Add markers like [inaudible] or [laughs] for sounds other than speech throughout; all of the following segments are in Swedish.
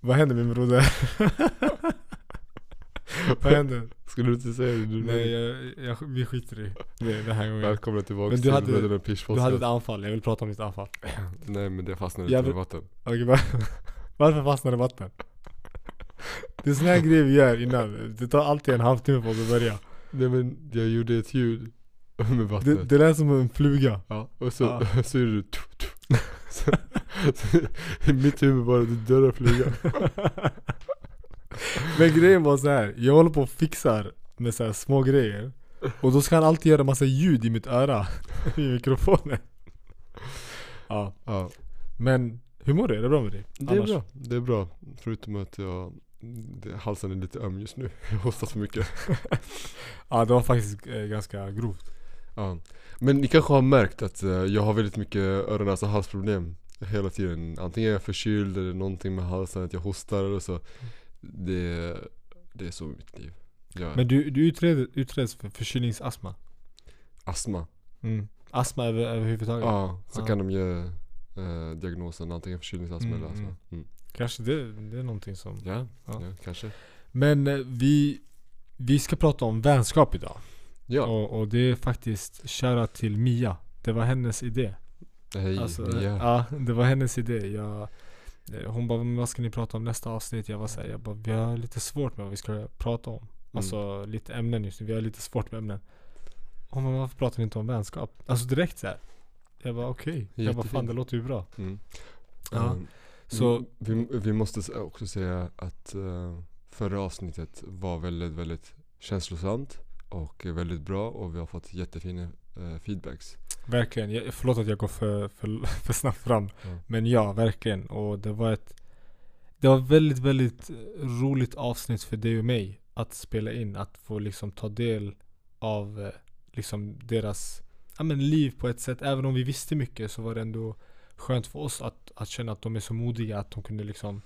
Vad händer min broder? [laughs] Vad händer? Skulle du inte säga det? Du, Nej, jag, jag, vi skiter i det den här gången. Välkomna tillbaka Men du till hade- Bröderna Du hade ett Pish-podden. anfall, jag vill prata om ditt anfall. [laughs] Nej men det fastnade Jag inte i vill- vatten. Okej, va- varför fastnar det vatten? Det är sån här grej vi gör innan. Det tar alltid en halvtimme för oss att börja. Nej men jag gjorde ett ljud med Det, vattnet. det lät som en fluga. Ja, och så, Ja. [laughs] så gjorde du tuff, tuff. så, så, [laughs] I mitt huvud bara du dödar flugan. Men grejen var så här. jag håller på och fixar med så här små grejer. Och då ska han alltid göra massa ljud i mitt öra. [laughs] I mikrofonen. Ja, Ja. men hur mår du? Är det bra med dig? Det är bra. Det är bra. Förutom att jag, det, halsen är lite öm just nu. Jag hostar för mycket. Ja, det var faktiskt eh, ganska grovt. Ja. Men ni kanske har märkt att eh, jag har väldigt mycket öron, näsa, halsproblem hela tiden. Antingen är jag förkyld eller någonting med halsen, att jag hostar eller Mm. så. Det, det är så i mitt liv. Jag Men du, du utreds, utreds för förkylningsastma. astma. Astma över, överhuvudtaget. Mm. Ja, så Ja. kan de ge eh, diagnosen antingen förkylningsastma Mm, eller astma. mm. Mm. Kanske det, det är någonting som... Ja, Ja. ja. kanske. Men eh, vi, vi ska prata om vänskap idag. Ja, Och, och det är faktiskt shoutout till Mia. Det var hennes idé. hej. Alltså, ja. Mm. ja, det var hennes idé. Jag, eh, hon bara, "Men vad ska ni prata om nästa avsnitt? Jag var såhär, jag bara, vi har lite svårt med vad vi ska prata om. Mm. Alltså lite ämnen just nu, vi har lite svårt med ämnen. Hon bara, varför pratar ni inte om vänskap? Alltså direkt såhär. Jag bara okej, jag bara fan Jättefint. det låter ju bra. Mm. Ja. Ehm, Så, vi, vi måste s- också säga att eh, förra avsnittet var väldigt, väldigt känslosamt och eh, väldigt bra och vi har fått jättefina eh, feedbacks. Verkligen, jag, förlåt att jag går för, för, [laughs] för snabbt fram. Ja. Men ja, verkligen. Och det var ett Det var väldigt, väldigt roligt avsnitt för dig och mig att spela in. Att få liksom ta del av eh, liksom deras ja, men liv på ett sätt. Även om vi visste mycket så var det ändå skönt för oss att, att känna att de är så modiga att de kunde liksom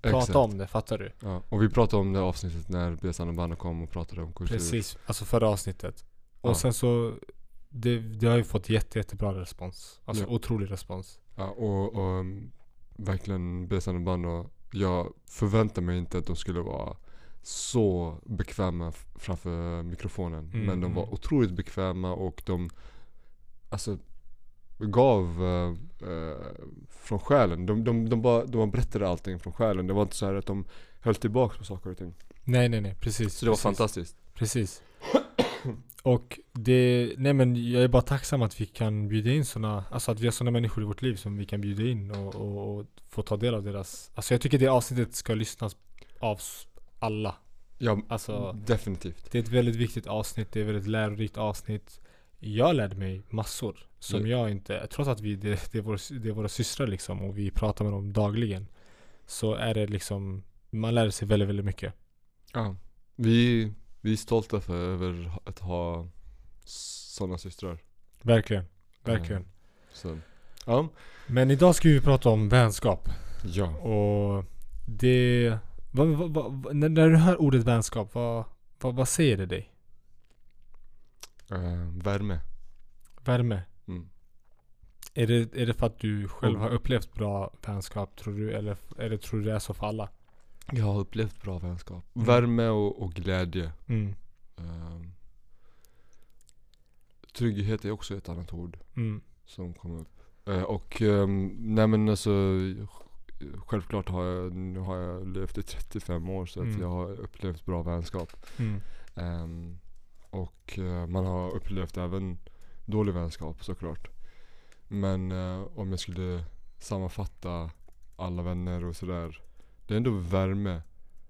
prata Exakt. om det. Fattar du? Ja. Och vi pratade om det avsnittet när Besan och Banna kom och pratade om kultur. Precis. Alltså förra avsnittet. Och Ja. sen så det, det har ju fått jätte, jättebra respons. Alltså Ja. otrolig respons. Ja, och, och um, verkligen Besan och Banna, jag förväntade mig inte att de skulle vara så bekväma f- framför mikrofonen. Mm, Men de var mm. otroligt bekväma och de alltså, gav eh, eh, från själen. De, de, de, bara, de bara berättade allting från själen. Det var inte så här att de höll tillbaka på saker och ting. Nej, nej, nej. Precis. Så det var precis. fantastiskt. Precis. Och det, nej men jag är bara tacksam att vi kan bjuda in sådana, alltså att vi har sådana människor i vårt liv som vi kan bjuda in och, och, och få ta del av deras, alltså jag tycker det avsnittet ska lyssnas av s- alla. Ja, Mm. Alltså definitivt. det är ett väldigt viktigt avsnitt, det är ett väldigt lärorikt avsnitt. Jag lärde mig massor som Mm. jag inte, trots att vi, det, det, är vår, det är våra systrar liksom och vi pratar med dem dagligen. Så är det liksom, man lär sig väldigt, väldigt mycket. Ja. Vi, vi är stolta för, över att ha sådana systrar. Verkligen, verkligen. Så. Ja. Men idag ska vi prata om vänskap Ja. och det... Vad, vad, vad, vad- när, när du hör ordet vänskap, vad, vad, vad säger det dig? Eh, värme. Värme? Mm. Är det, är det för att du själv Oh. har upplevt bra vänskap tror du? Eller, eller tror du det är så för alla? Jag har upplevt bra vänskap. Mm. Värme och, och glädje. Mm. Ehm, trygghet är också ett annat ord Mm. som kom upp. Eh, och um, nej men alltså sj- Självklart har jag, nu har jag levt i 35 år så Mm. att jag har upplevt bra vänskap. Mm. Ehm, och eh, man har upplevt även dålig vänskap såklart. Men eh, om jag skulle sammanfatta alla vänner och sådär. Det är ändå värme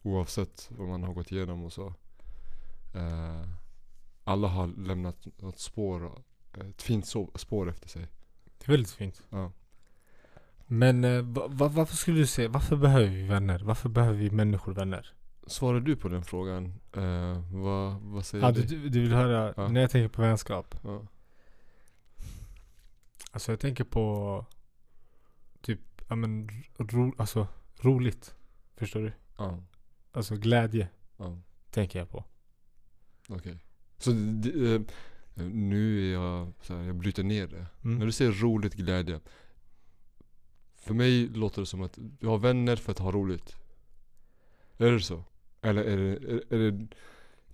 oavsett vad man har gått igenom och så. Eh, alla har lämnat något spår, ett fint so- spår efter sig. Det är väldigt fint. Ja. Men eh, va, va, varför skulle du säga, varför behöver vi vänner? Varför behöver vi människor vänner? Svarar du på den frågan? Eh, vad, vad säger Ja, du? du, du du vill höra, Ja. när jag tänker på vänskap. Ja. Alltså jag tänker på typ, ja men ro, alltså roligt. Förstår du? Ja. Alltså glädje ja. tänker jag på. Okej. Så det, eh, nu är jag så här, jag bryter ner det. När Mm. du säger roligt, glädje. För mig låter det som att du har vänner för att ha roligt. Är det så? Eller är det, är, är det,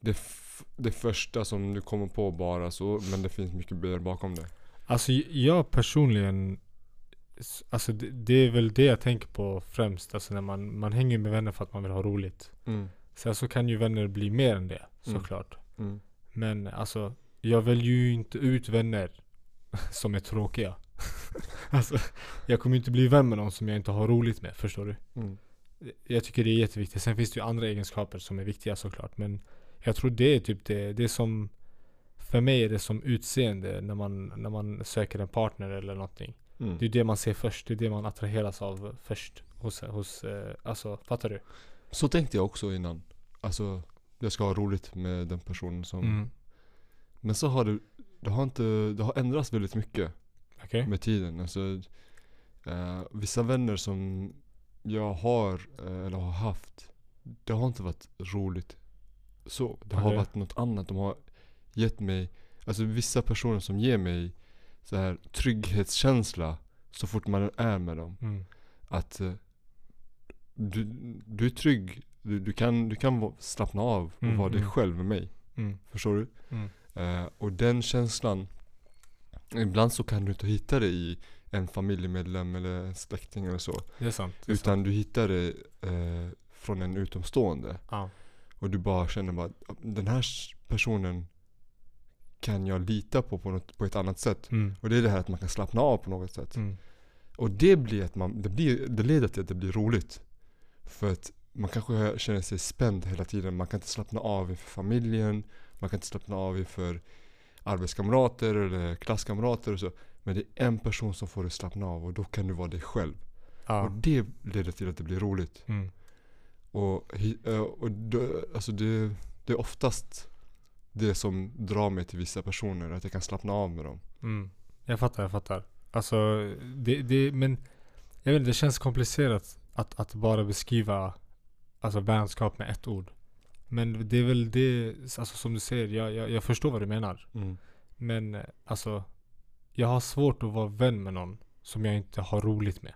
det, f- det första som du kommer på bara så, men det finns mycket mer bakom det? Alltså j- jag personligen s- Alltså det, det är väl det jag tänker på främst. Alltså när man, man hänger med vänner för att man vill ha roligt. Mm. Sen så kan ju vänner bli mer än det Mm. såklart. Mm. Men alltså jag väljer ju inte ut vänner [laughs] som är tråkiga. [laughs] alltså jag kommer ju inte bli vän med någon som jag inte har roligt med. Förstår du? Mm. Jag tycker det är jätteviktigt. Sen finns det ju andra egenskaper som är viktiga såklart. Men jag tror det är typ det, det är som För mig är det som utseende när man, när man söker en partner eller någonting. Mm. Det är det man ser först, det är det man attraheras av först. Hos, hos eh, alltså fattar du? Så tänkte jag också innan. Alltså, jag ska ha roligt med den personen som... Mm. Men så har det, det har inte, det har ändrats väldigt mycket Okej? med tiden. Alltså, eh, vissa vänner som jag har, eh, eller har haft, det har inte varit roligt så. Det har Okej. varit något annat. De har gett mig, alltså vissa personer som ger mig så här trygghetskänsla så fort man är med dem Mm. att eh, du, du är trygg. Du, du kan, du kan va- slappna av och Mm, vara dig mm. själv med mig. Mm. Förstår du? Mm. Eh, och den känslan, ibland så kan du inte hitta det i en familjemedlem eller en släkting eller så. Det är sant. Det är sant. Utan du hittar det eh, från en utomstående. Ja. Och du bara känner bara, den här s- personen kan jag lita på på, något, på ett annat sätt. Mm. Och det är det här att man kan slappna av på något sätt. Mm. Och det blir att man, det, blir, det leder till att det blir roligt. För att man kanske känner sig spänd hela tiden. Man kan inte slappna av inför familjen. Man kan inte slappna av inför arbetskamrater eller klasskamrater och så. Men det är en person som får dig slappna av och då kan du vara dig själv. Och Ja. det leder till att det blir roligt. Mm. Och, hi- eh, och då, alltså det, det är oftast det som drar mig till vissa personer. Att jag kan slappna av med dem. Mm. Jag fattar, jag fattar. Alltså, det, det, men jag vet inte, det känns komplicerat att, att bara beskriva alltså vänskap med ett ord. Men det är väl det, alltså som du säger, jag, jag, jag förstår vad du menar. Men eh, alltså, jag har svårt att vara vän med någon som jag inte har roligt med.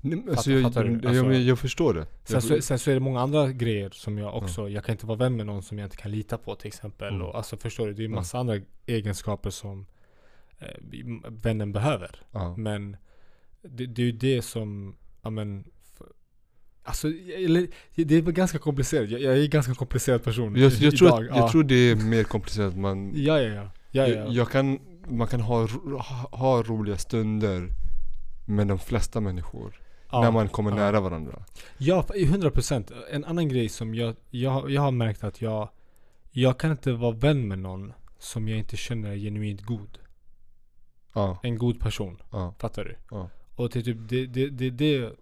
Nej, men Fattar- alltså jag, fattar du? jag, Alltså- jag, jag förstår det. Sen jag, så, sen så är det många andra grejer som jag också, jag kan inte vara vän med någon som jag inte kan lita på till exempel. Mm. Och, alltså förstår du, det är Mm. massa andra egenskaper som eh, vi- vännen behöver. ja. Men det, det är ju det som, ja men, f- alltså eller, det är väl ganska komplicerat. Jag, jag är en ganska komplicerad person Jag, i- jag, tror, idag. att, jag ja. tror det är mer komplicerat. Man, Ja, ja, ja. ja, ja. Jag, jag kan, man kan ha, ro- ha, ha roliga stunder med de flesta människor. ja. När man kommer ja. nära varandra. Ja, f- 100%. En annan grej som jag, jag, jag har märkt att jag, jag kan inte vara vän med någon som jag inte känner är genuint god. Ja, En god person. ja, Fattar du? Ja. Och det, är typ, det, det, det, det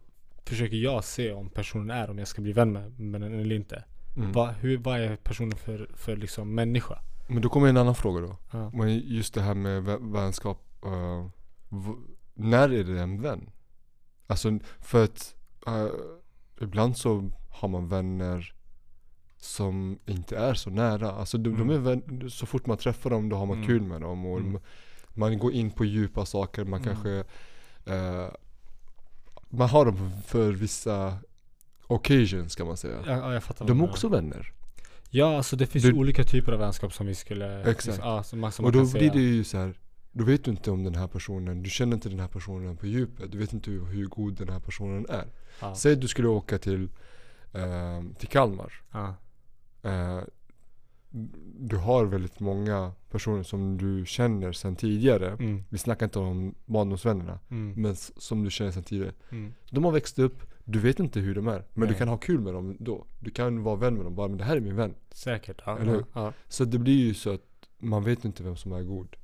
försöker jag se om personen är, om jag ska bli vän med, med den eller inte. mm. Va, hur, vad är personen för, för liksom människa? Men då kommer en annan fråga då. Ja. Men just det här med vä- vänskap. eh, v- när är det en vän? Alltså för att eh, ibland så har man vänner som inte är så nära. Alltså de, de är vän, så fort man träffar dem då har man Mm. kul med dem. Och Mm. m- Man går in på djupa saker. Man Mm. kanske eh, Man har dem för vissa occasions kan man säga. Ja, jag fattar vad du De är menar. också vänner. Ja, alltså det finns Du- ju olika typer av vänskap som vi skulle... Exakt. Ja, som man, som Och man då kan blir säga. det ju så här. Då vet du inte om den här personen, du känner inte den här personen på djupet. Du vet inte hur, hur god den här personen är. Ja. Säg att du skulle åka till, eh, till Kalmar. Ja. Eh, du har väldigt många personer som du känner sedan tidigare. Mm, Vi snackar inte om barndomsvännerna. mm, Men s- som du känner sedan tidigare. mm. De har växt upp, du vet inte hur de är. Men Nej. du kan ha kul med dem då. Du kan vara vän med dem. Bara, men det här är min vän. Säkert. Ja, Eller ja, hur? ja. Så det blir ju så att man vet inte vem som är god.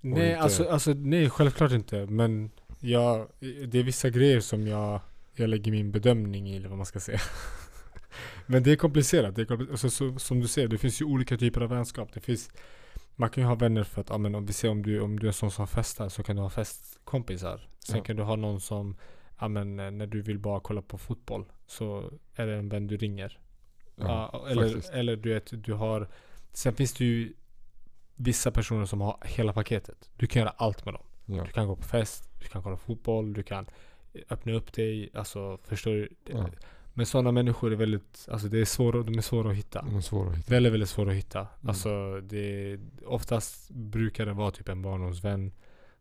Nej, inte- alltså, alltså nej, självklart inte. Men jag, det är vissa grejer som jag, jag lägger min bedömning i, eller vad man ska säga. [laughs] Men det är komplicerat. Det är komplicerat. Alltså, så, som du säger, det finns ju olika typer av vänskap. Det finns, man kan ju ha vänner för att, ja, men om vi ser om du, om du är en sån som festar så kan du ha festkompisar. Sen Ja. kan du ha någon som, ja, men, eh, när du vill bara kolla på fotboll så är det en vän du ringer. Ja, faktiskt. eller, eller du vet, du har... Sen finns det ju vissa personer som har hela paketet. Du kan göra allt med dem. Ja. Du kan eh, gå på fest, du kan kolla fotboll, du kan öppna upp dig, alltså förstår du? Ja. Men sådana människor är väldigt, alltså det är svåra, de är svåra att hitta. De är svåra att hitta. Väldigt, väldigt svåra att Mm. hitta. Alltså det, oftast brukar det vara typ en barndomsvän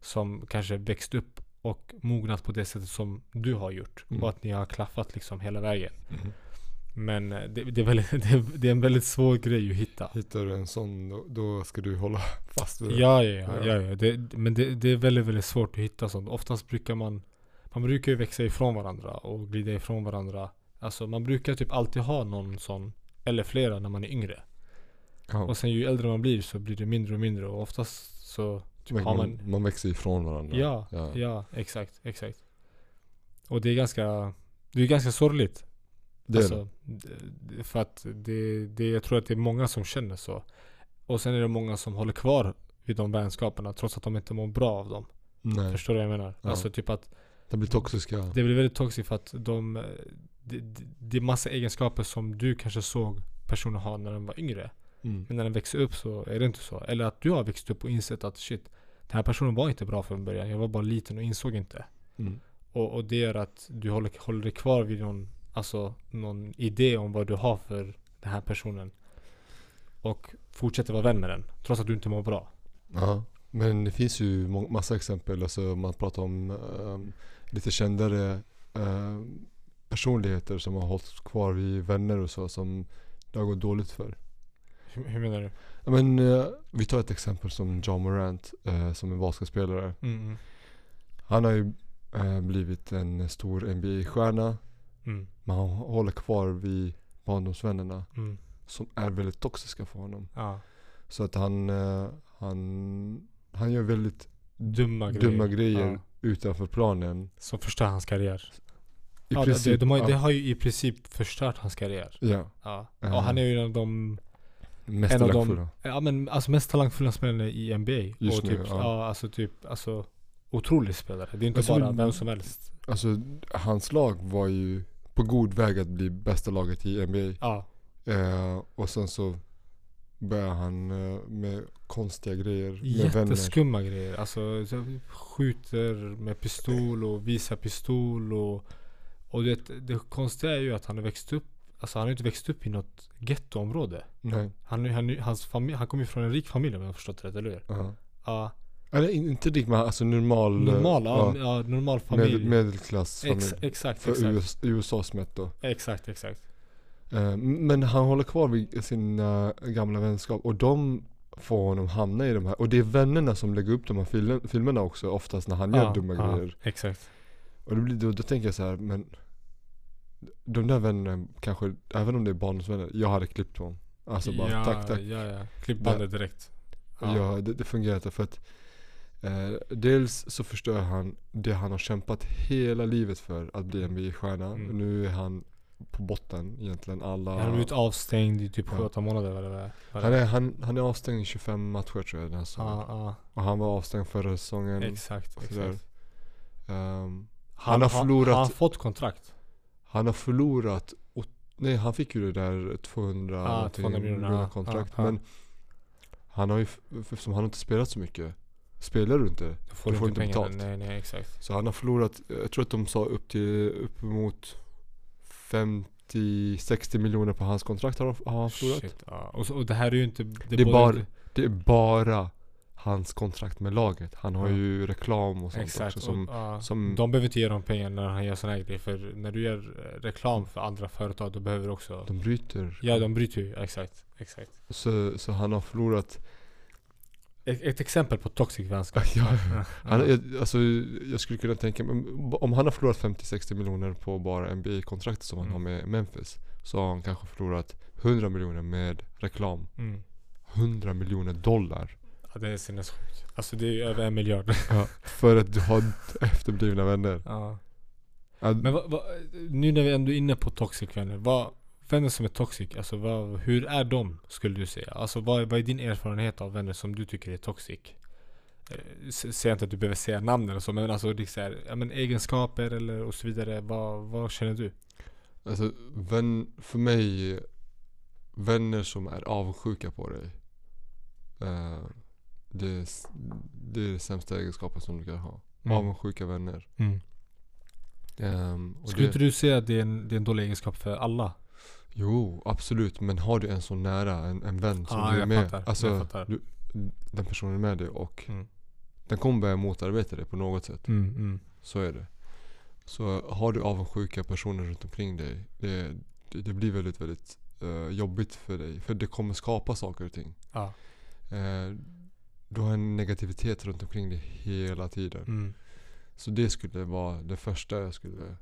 som kanske växt upp och mognat på det sättet som du har gjort. Mm. Och att ni har klaffat liksom hela vägen. Mm. Men eh, det, det, är väldigt, [laughs] det, är, det är en väldigt svår grej att hitta. Hittar du en sån då, då ska du hålla [laughs] fast vid den. Ja, ja, ja. Ja. ja, ja. Det, men det, det är väldigt, väldigt svårt att hitta sånt. Oftast brukar man, man brukar ju växa ifrån varandra och glida ifrån varandra. Alltså man brukar typ alltid ha någon sån, eller flera när man är yngre. Ja. Och sen ju äldre man blir så blir det mindre och mindre och oftast så typ, Men har man, man... man växer ifrån varandra. Ja, ja, Ja. exakt, exakt. Och det är ganska, det är ganska sorgligt. Det är alltså, d- För att det, det, jag tror att det är många som känner så. Och sen är det många som håller kvar vid de vänskaperna trots att de inte mår bra av dem. det. Nej. Förstår du vad jag menar? Mm. Ja. Alltså typ att De blir toxiska. det blir väldigt toxiskt för att de, eh, det, det- det är massa egenskaper som du kanske såg personer ha när de var yngre. Mm. Men när den växer upp så är det inte så. Eller att du har växt upp och insett att shit, den här personen var inte bra från början. Jag var bara liten och insåg inte. Mm. Och, och det gör att du håller, håller dig kvar vid någon, alltså, någon idé om vad du har för den här personen. Och fortsätter vara vän med den. Trots att du inte mår bra. Ja. Men det finns ju må- massa exempel. Alltså man pratar om ehm, lite kändare ehm, personligheter som har hållit kvar vid vänner och så som det har gått dåligt för. Hur, hur menar du? Ja, Men eh, vi tar ett exempel som John Morant eh, som är basketspelare. Mm, mm, Han har ju eh, blivit en stor NBA-stjärna. mm, Men han håller kvar vid barndomsvännerna mm. som är väldigt toxiska för honom. Ja. Så att han, eh, han, han gör väldigt Dumma grejer. dumma grejer Ja. utanför planen. Som förstör hans karriär. I ja, princip, det, de har, ja, det har ju i princip förstört hans karriär. ja, Ja. Ja. Och han är ju en av de mest en av dem- talangfulla. Ja men alltså mest talangfulla spelarna i NBA. Just och nu, typ, ja. ja. alltså typ, alltså otrolig spelare. Det är inte Alltså, bara men- vem som helst. Alltså hans lag var ju på god väg att bli bästa laget i NBA. Ja, Eh, och sen så börjar han eh, med konstiga grejer med vänner. jätteskumma grejer. Alltså så skjuter med pistol och visar pistol och, och det, det konstiga är ju att han har växt upp, alltså han har inte växt upp i något gettoområde. Nej. Han, han, hans familj, han kommer ju från en rik familj om jag har förstått det rätt, eller hur? ja. Ja, Eller in- inte riktigt, men alltså normal. eh, normal, ja, ja, ja, normal med, familj. medelklassfamilj. Ex, exakt, för exakt. US, USAs mätt då. Exakt, exakt. Eh, Men han håller kvar vid sina gamla vänskap och de får honom hamna i de här, och det är vännerna som lägger upp de här filen- filmerna också oftast när han gör Ja, dumma ja, grejer. Exakt. Och då, blir, då, då tänker jag så här, men de där vännerna kanske, även om det är barndomsvänner, jag hade klippt honom. Alltså bara ja, tack tack. Ja, ja. Klipp bandet direkt. Ja, det, det fungerar inte för att eh, dels så förstör han det han har kämpat hela livet för, att bli en NBA-stjärna. Mm. Och Nu är han på botten egentligen. Alla... Han har blivit avstängd i typ Ja. 7-8 månader vad det var. vad det Han var. är, han, han är avstängd i 25 matcher tror jag den här säsongen. Ja, Och han var avstängd förra ja. säsongen. Exakt, och exakt. Mm. sådär. Ehm, Han, har har förlorat- Har han fått kontrakt? han har förlorat, åt, nej han fick ju det där 200, Ah, någonting 200 miljoner, miljoner ah, kontrakt. ah, ah. men han har ju, f- eftersom han har inte spelat så mycket, spelar du inte. Då får Du du, får inte inte pengarna. betalt. Nej, nej, exakt. Så han har förlorat, jag tror att de sa upp till uppemot 50-60 miljoner på hans kontrakt har, har han förlorat. Shit, ja. och, så, och det här är ju inte... Det är både- bara- Det är bara hans kontrakt med laget. Han har Ja. ju reklam och sånt Exakt. också Och, som, ja. som De behöver inte ge dem pengar när han gör såna här grejer. För när du gör eh, reklam för andra företag, då behöver du också... de bryter. Ja, de bryter ju. Exakt. Exakt. Så, så han har förlorat. [laughs] Ett, ett exempel på toxic vänskap. Ja, han, Ja. jag, alltså, jag skulle kunna tänka mig, om han har förlorat 50-60 miljoner på bara NBA-kontraktet som han Mm. har med Memphis. Så har han kanske förlorat 100 miljoner med reklam. Mm. 100 miljoner dollar. Ja, det är sinnessjukt. Alltså det är ju över en miljard. För att du har [laughs] efterblivna vänner. ja. Att- Men vad, vad, nu när vi ändå är inne på toxic vänner. Vad, vänner som är toxic, alltså vad, hur är de skulle du säga? Alltså vad, är- vad är din erfarenhet av vänner som du tycker är toxic? Eh, s- Säg inte att du behöver säga namn eller så, men alltså det är så här, ja, men egenskaper eller och så vidare. Vad, vad känner du? Alltså, vän, för mig, vänner som är avundsjuka på dig. Eh, det, är, s- det är den sämsta egenskapen som du kan ha. Avundsjuka vänner. Mm. Ehm, mm. och Skulle det- inte du säga att det är, en, det är en dålig egenskap för alla? Jo, absolut. Men har du en så nära, en, en vän som Ja, du är Ah, jag med. fattar, jag alltså, fattar. Du, den personen är med dig och Mm. den kommer börja motarbeta dig på något sätt. Mm, mm. Så är det. Så har du avundsjuka personer runt omkring dig. Det, det, det blir väldigt, väldigt eh, jobbigt för dig. För det kommer skapa saker och ting. Ja. Eh, du har en negativitet runt omkring dig hela tiden. Mm. Så det skulle vara det första jag skulle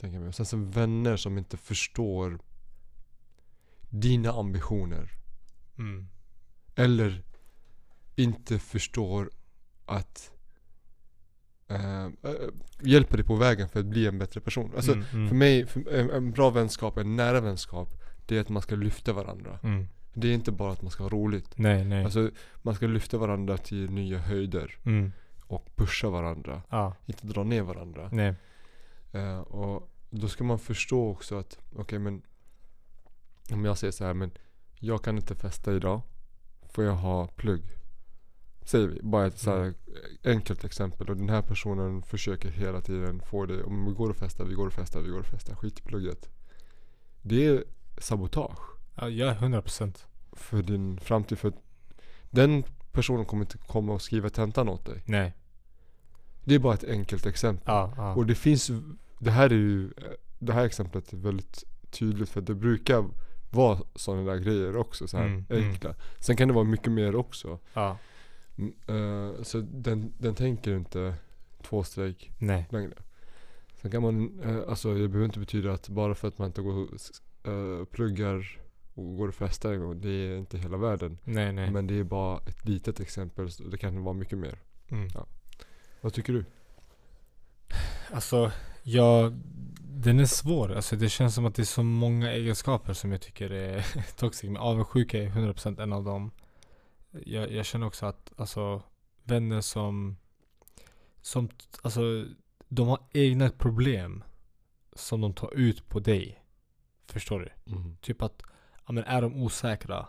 tänka mig. Och Sen så vänner som inte förstår dina ambitioner. Mm. Eller inte förstår att eh, eh, hjälpa dig på vägen för att bli en bättre person. Alltså, mm, mm. För mig, för, en, en bra vänskap, en nära vänskap, det är att man ska lyfta varandra. Mm. Det är inte bara att man ska ha roligt. Nej, nej. Alltså, man ska lyfta varandra till nya höjder mm. och pusha varandra. Ja, Inte dra ner varandra. nej. Eh, och då ska man förstå också att, okej men om jag säger så här, men jag kan inte festa idag. Får jag ha plugg? Säger vi. Bara ett så här enkelt exempel. Och den här personen försöker hela tiden få det. Om vi går och festar, vi går och festar, vi går och festar. Skit i plugget. Det är sabotage Ja, jag är 100%. för din framtid. För att den personen kommer inte komma och skriva tentan åt dig. Nej. Det är bara ett enkelt exempel. Ja, ja. Och det finns, det här är ju, det här exemplet är väldigt tydligt för att det brukar vara sådana där grejer också så här Mm, mm. enkla. Sen kan det vara mycket mer också. ja. Mm, eh, så den, den tänker inte två streck Nej. längre. Sen kan man, eh, alltså det behöver inte betyda att bara för att man inte går och s- eh, pluggar och går och festar en gång, det är inte hela världen. Nej, nej. Men det är bara ett litet exempel, så det kan vara mycket mer. Mm. Vad tycker du? Alltså, jag... Den är svår. Alltså det känns som att det är så många egenskaper som jag tycker är [laughs] toxic. Men avundsjuka är 100% en av dem. Jag, jag känner också att, alltså, vänner som... Som, t- alltså, de har egna problem. Som de tar ut på dig. Förstår du? Typ att, ja men är de osäkra.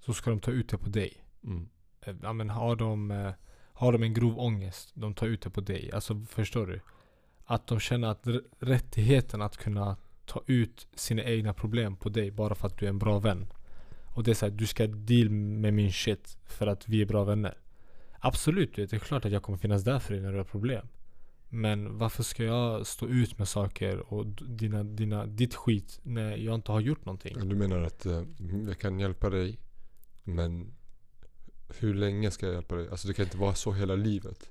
Så ska de ta ut det på dig. Mm. Eh, ja, men har, de, eh, har de en grov ångest, de tar ut det på dig. Alltså förstår du? Att de känner att r- rättigheten att kunna ta ut sina egna problem på dig bara för att du är en bra vän. Och det är såhär, du ska deal med min shit för att vi är bra vänner. Absolut, du vet, det är klart att jag kommer finnas där för dig när du har problem. Men varför ska jag stå ut med saker och d- dina, dina, ditt skit när jag inte har gjort någonting? Ja, Du menar att eh, jag kan hjälpa dig men hur länge ska jag hjälpa dig? Alltså det kan inte vara så hela livet.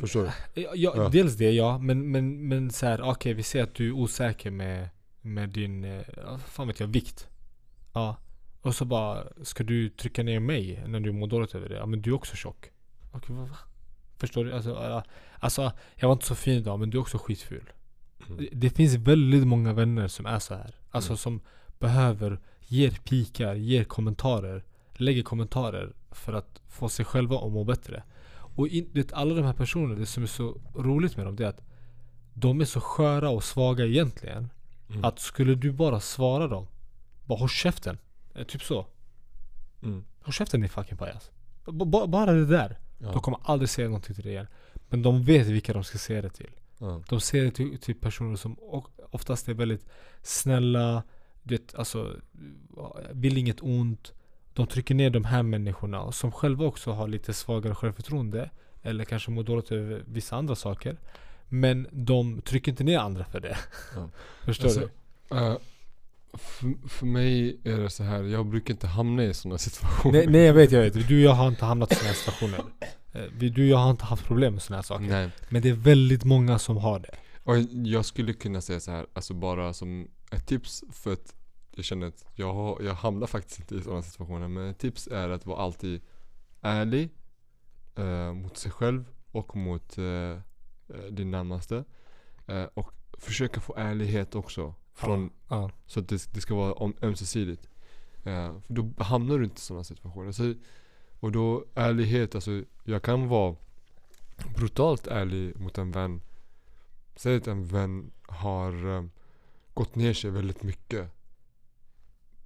Förstår du? Ja, ja, Ja. dels det ja, men, men, men så här, okej vi ser att du är osäker med, med din, eh, ja, fan vet jag, vikt. Ja. Och så bara, ska du trycka ner mig när du mår dåligt över det? Ja men du är också tjock. Okej, vad va? Förstår du? Alltså, ja, alltså, jag var inte så fin idag men du är också skitful. Mm. Det finns väldigt många vänner som är så här. Alltså Mm. som behöver, ger pikar, ger kommentarer, lägger kommentarer för att få sig själva att må bättre. Och in, det, alla de här personerna, det som är så roligt med dem det är att de är så sköra och svaga egentligen. Mm. Att skulle du bara svara dem, bara håll käften. Eh, Typ så. Mm. Håll käften din fucking pajas. B- ba- bara det där. Ja. De kommer aldrig säga någonting till dig igen. Men de vet vilka de ska säga det till. Ja. De ser det till, till personer som o- oftast är väldigt snälla, du vet, alltså, vill inget ont. De trycker ner de här människorna och som själva också har lite svagare självförtroende. Eller kanske mår dåligt över vissa andra saker. Men de trycker inte ner andra för det. Ja. [laughs] Förstår Alltså, du? eh, för, för mig är det så här, jag brukar inte hamna i sådana situationer. Nej, nej jag vet, jag vet. Du och jag har inte hamnat i sådana här situationer. Eh, vi- Du och jag har inte haft problem med sådana här saker. Nej. Men det är väldigt många som har det. Och jag skulle kunna säga så här, alltså bara som ett tips för att jag känner att jag, har- jag hamnar faktiskt inte i sådana situationer. Men ett tips är att vara alltid ärlig eh, mot sig själv och mot eh, eh, din närmaste. Eh, och försöka få ärlighet också. Från, Ja. Så att det, det ska vara om, ömsesidigt. Eh, för då hamnar du inte i sådana situationer. Alltså, och då ärlighet, alltså jag kan vara brutalt ärlig mot en vän. Säg att en vän har eh, gått ner sig väldigt mycket.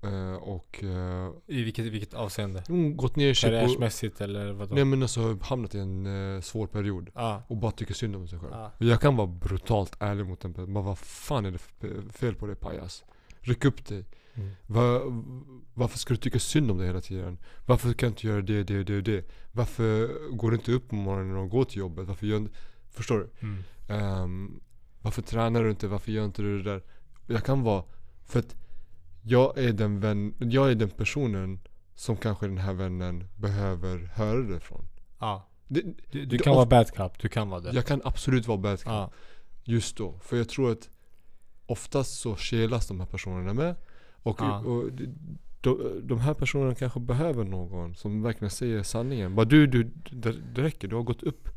Eh, och eh, I vilket, i vilket avseende? hon gått ner sig på... Karriärsmässigt eller vadå? Nej men alltså hamnat i en eh, svår period. Ja, Och bara tycker synd om sig själv. ja. Jag kan vara brutalt ärlig mot en person. Bara, Vad fan är det för fel på dig pajas? Ryck upp dig. Mm. Va, varför ska du tycka synd om dig hela tiden? Varför kan du inte göra det, det, det, det? Varför går du inte upp på morgonen och går till jobbet? Varför gör du inte... Förstår du? Mm. Ehm, varför tränar du inte? Varför gör inte du det där? Jag kan vara... För att jag är den vän, jag är den personen som kanske den här vännen behöver höra det från. ja. Det, Du, du Det- kan of- vara bad cop, du kan vara det. jag kan absolut vara bad cop Ja. just då. För jag tror att oftast så kelas de här personerna med. Och, Ja. och de- de, de här personerna kanske behöver någon som verkligen säger sanningen. Bara du, du det, det räcker. Du har gått upp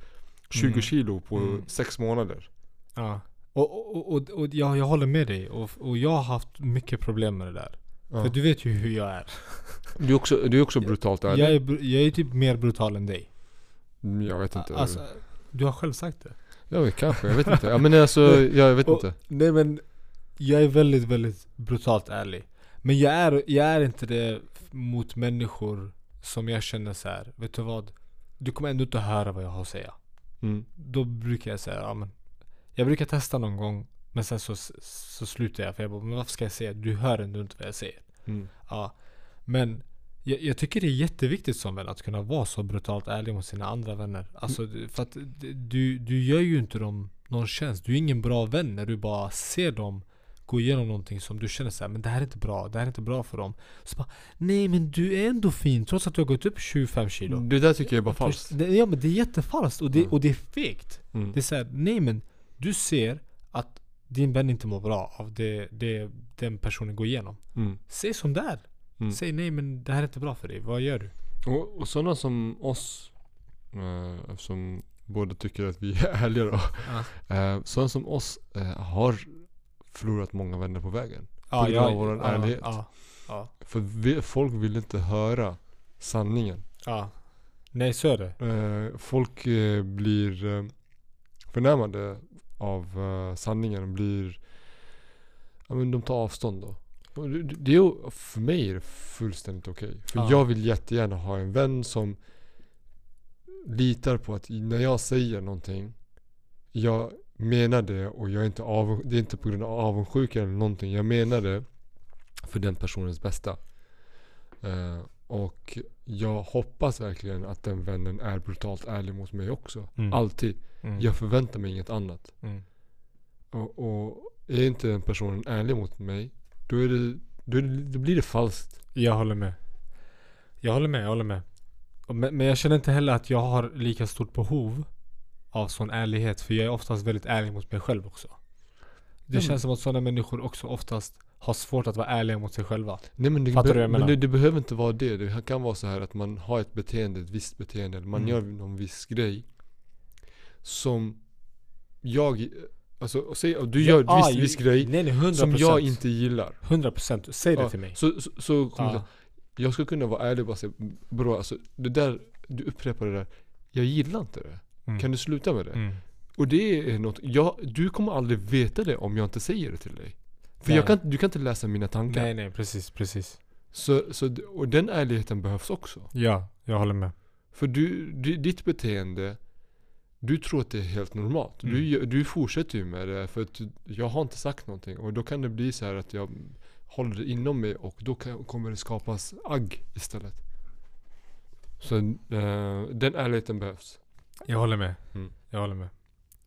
20 Mm. kilo på Mm. sex månader. Ja. Och, och, och, och jag, jag håller med dig. Och, och jag har haft mycket problem med det där. Ja. För du vet ju hur jag är. Du är också, du är också brutalt ärlig. Jag är, br- jag är typ mer brutal än dig. Mm, Jag vet inte. Alltså, du har själv sagt det. Jag vet, kanske, jag vet inte. Ja, men [laughs] alltså, ja, jag vet Och- inte. Nej men, jag är väldigt, väldigt brutalt ärlig. Men jag är, jag är inte det f- mot människor som jag känner så här. vet du vad? Du kommer ändå inte höra vad jag har att säga. Mm. Då brukar jag säga, ja men. Jag brukar testa någon gång, men sen så, så slutar jag. För jag bara, men varför ska jag säga? Du hör ändå inte vad jag säger. Mm. Ja. Men jag, jag tycker det är jätteviktigt som vän att kunna vara så brutalt ärlig mot sina andra vänner. Alltså, Mm. du- för att d- du, du gör ju inte dem någon tjänst. Du är ingen bra vän när du bara ser dem gå igenom någonting som du känner så här, men det här är inte bra, det här är inte bra för dem. Så bara, nej men du är ändå fin trots att du har gått upp 25 kilo. Det där tycker jag är bara Mm. falskt. Det, ja men det är jättefalskt och det, Mm. och det är fegt. Mm. Det är såhär, nej men du ser att din vän inte mår bra av det, det den personen går igenom. Mm. Säg som det är. Mm. Säg nej men det här är inte bra för dig. Vad gör du? Och, och sådana som oss, eh, eftersom båda tycker att vi är ärliga då. Ja. Eh, sådana som oss eh, har förlorat många vänner på vägen. Ja, grund av vår ja, ärlighet. Ja, ja, För vi, folk vill inte höra sanningen. ja. Nej så är det. Eh, folk eh, blir eh, förnärmade av eh, sanningen. Blir, ja, men de tar avstånd då. Och det- det- Det är, ju- för mig är det fullständigt okej. För Ja. jag vill jättegärna ha en vän som litar på att när jag säger någonting, jag menar det och jag är inte av, det är inte på grund av avundsjuka eller någonting. Jag menar det för den personens bästa. Eh, och jag hoppas verkligen att den vännen är brutalt ärlig mot mig också. Mm. Alltid. Mm. Jag förväntar mig inget annat. Mm. Och, och är inte den personen ärlig mot mig, då, är det, då, är det, då blir det falskt. Jag håller med. Jag håller med, jag håller med. Och Men, men jag känner inte heller att jag har lika stort behov av sån ärlighet. För jag är oftast väldigt ärlig mot mig själv också. Det Ja, men- känns som att sådana människor också oftast har svårt att vara ärliga mot sig själva. Nej, men det, Fattar du be- vad jag men menar? det, det behöver inte vara det. Det kan vara så här att man har ett beteende, ett visst beteende. Eller man Mm. gör någon viss grej. Som jag, alltså säg, du gör Ja, ah, en viss, ju- viss grej Nej nej, 100%. som jag inte gillar. 100%. Säg det Ja, till mig. Så, så, så kommer Ja. jag, jag skulle kunna vara ärlig och bara säga Bro alltså det där, du upprepar det där Jag gillar inte det. Mm. Kan du sluta med det? Mm. Och det är något, jag, du kommer aldrig veta det om jag inte säger det till dig. För Nej. jag kan, du kan inte läsa mina tankar. Nej nej, precis, precis. Så, så, d- och den ärligheten behövs också. Ja, jag håller med. För du, di- ditt beteende, du tror att det är helt normalt. Mm. Du, gör- du fortsätter ju med det för att du- jag har inte sagt någonting. Och då kan det bli så här att jag håller det inom mig och då kan, kommer det skapas agg istället. Så eh, den ärligheten behövs. Jag håller med. Mm. Jag håller med.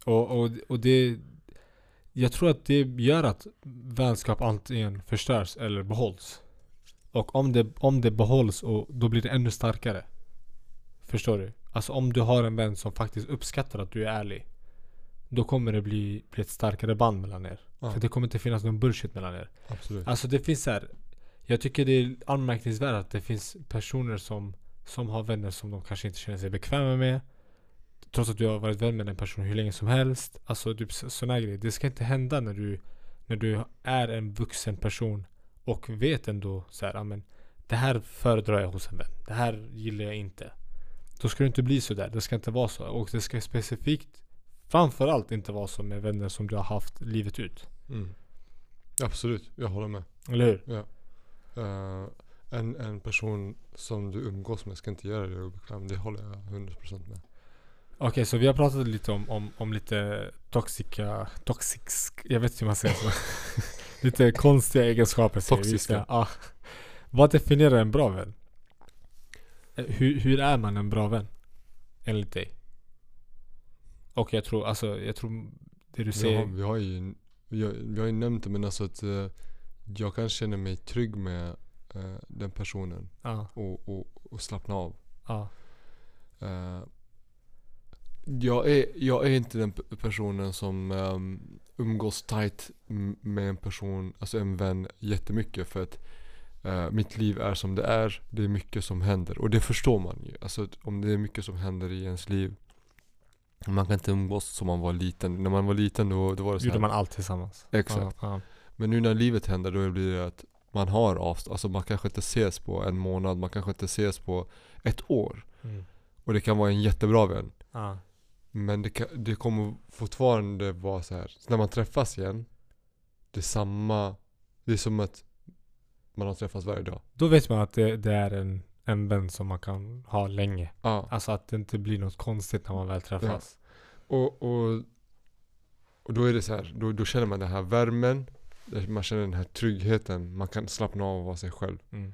Och, och, och det... Jag tror att det gör att vänskap antingen förstörs eller behålls. Och om det, om det behålls, och då blir det ännu starkare. Förstår du? Alltså om du har en vän som faktiskt uppskattar att du är ärlig. Då kommer det bli, bli ett starkare band mellan er. Ja. För det kommer inte finnas någon bullshit mellan er. Absolut. Alltså det finns så här. Jag tycker det är anmärkningsvärt att det finns personer som, som har vänner som de kanske inte känner sig bekväma med. Trots att du har varit vän med den personen hur länge som helst. Alltså typ sådana grejer. Det ska inte hända när du, när du är en vuxen person och vet ändå så här, "Ah, men det här föredrar jag hos en vän. Det här gillar jag inte. Då ska det inte bli så där. Det ska inte vara så. Och det ska specifikt framförallt inte vara så med vänner som du har haft livet ut. Mm. Absolut, jag håller med. Eller hur? Ja. Eh, en, en person som du umgås med ska inte göra dig obekväm. Det håller jag 100% med. Okej, så vi har pratat lite om, om, om lite toxiska, toxisk, jag vet inte hur man säger så. [laughs] lite konstiga egenskaper. säger vi. Toxiska. Ja. Vad definierar en bra vän? Eh, Hur, hur är man en bra vän? Enligt dig? Och jag tror, alltså jag tror det du Vi har, säger. vi, har ju, vi, har, vi har ju nämnt det men alltså att eh, jag kan känna mig trygg med eh, den personen Ja, och, och, och slappna av. ja, Eh, jag, är, jag är inte den pe- personen som ehm, umgås tight m- med en person, alltså en vän jättemycket för att eh, mitt liv är som det är. Det är mycket som händer och det förstår man ju. Alltså att om det är mycket som händer i ens liv. Man kan inte umgås som man var liten. När man var liten då, då var det så gjorde här. man allt tillsammans. Exakt. Ja, Men nu när livet händer då blir det att man har avstånd. Alltså man kanske inte ses på en månad, man kanske inte ses på ett år. ja. Mm. Och det kan vara en jättebra vän. ja. Men det, kan, det kommer fortfarande vara så här. Så när man träffas igen, det är samma, det är som att man har träffats varje dag. Då vet man att det, det är en, en vän som man kan ha länge. Ja. Alltså att det inte blir något konstigt när man väl träffas. Och, och, och då är det så här, då, då känner man den här värmen, man känner den här tryggheten, man kan slappna av och vara sig själv. Mm.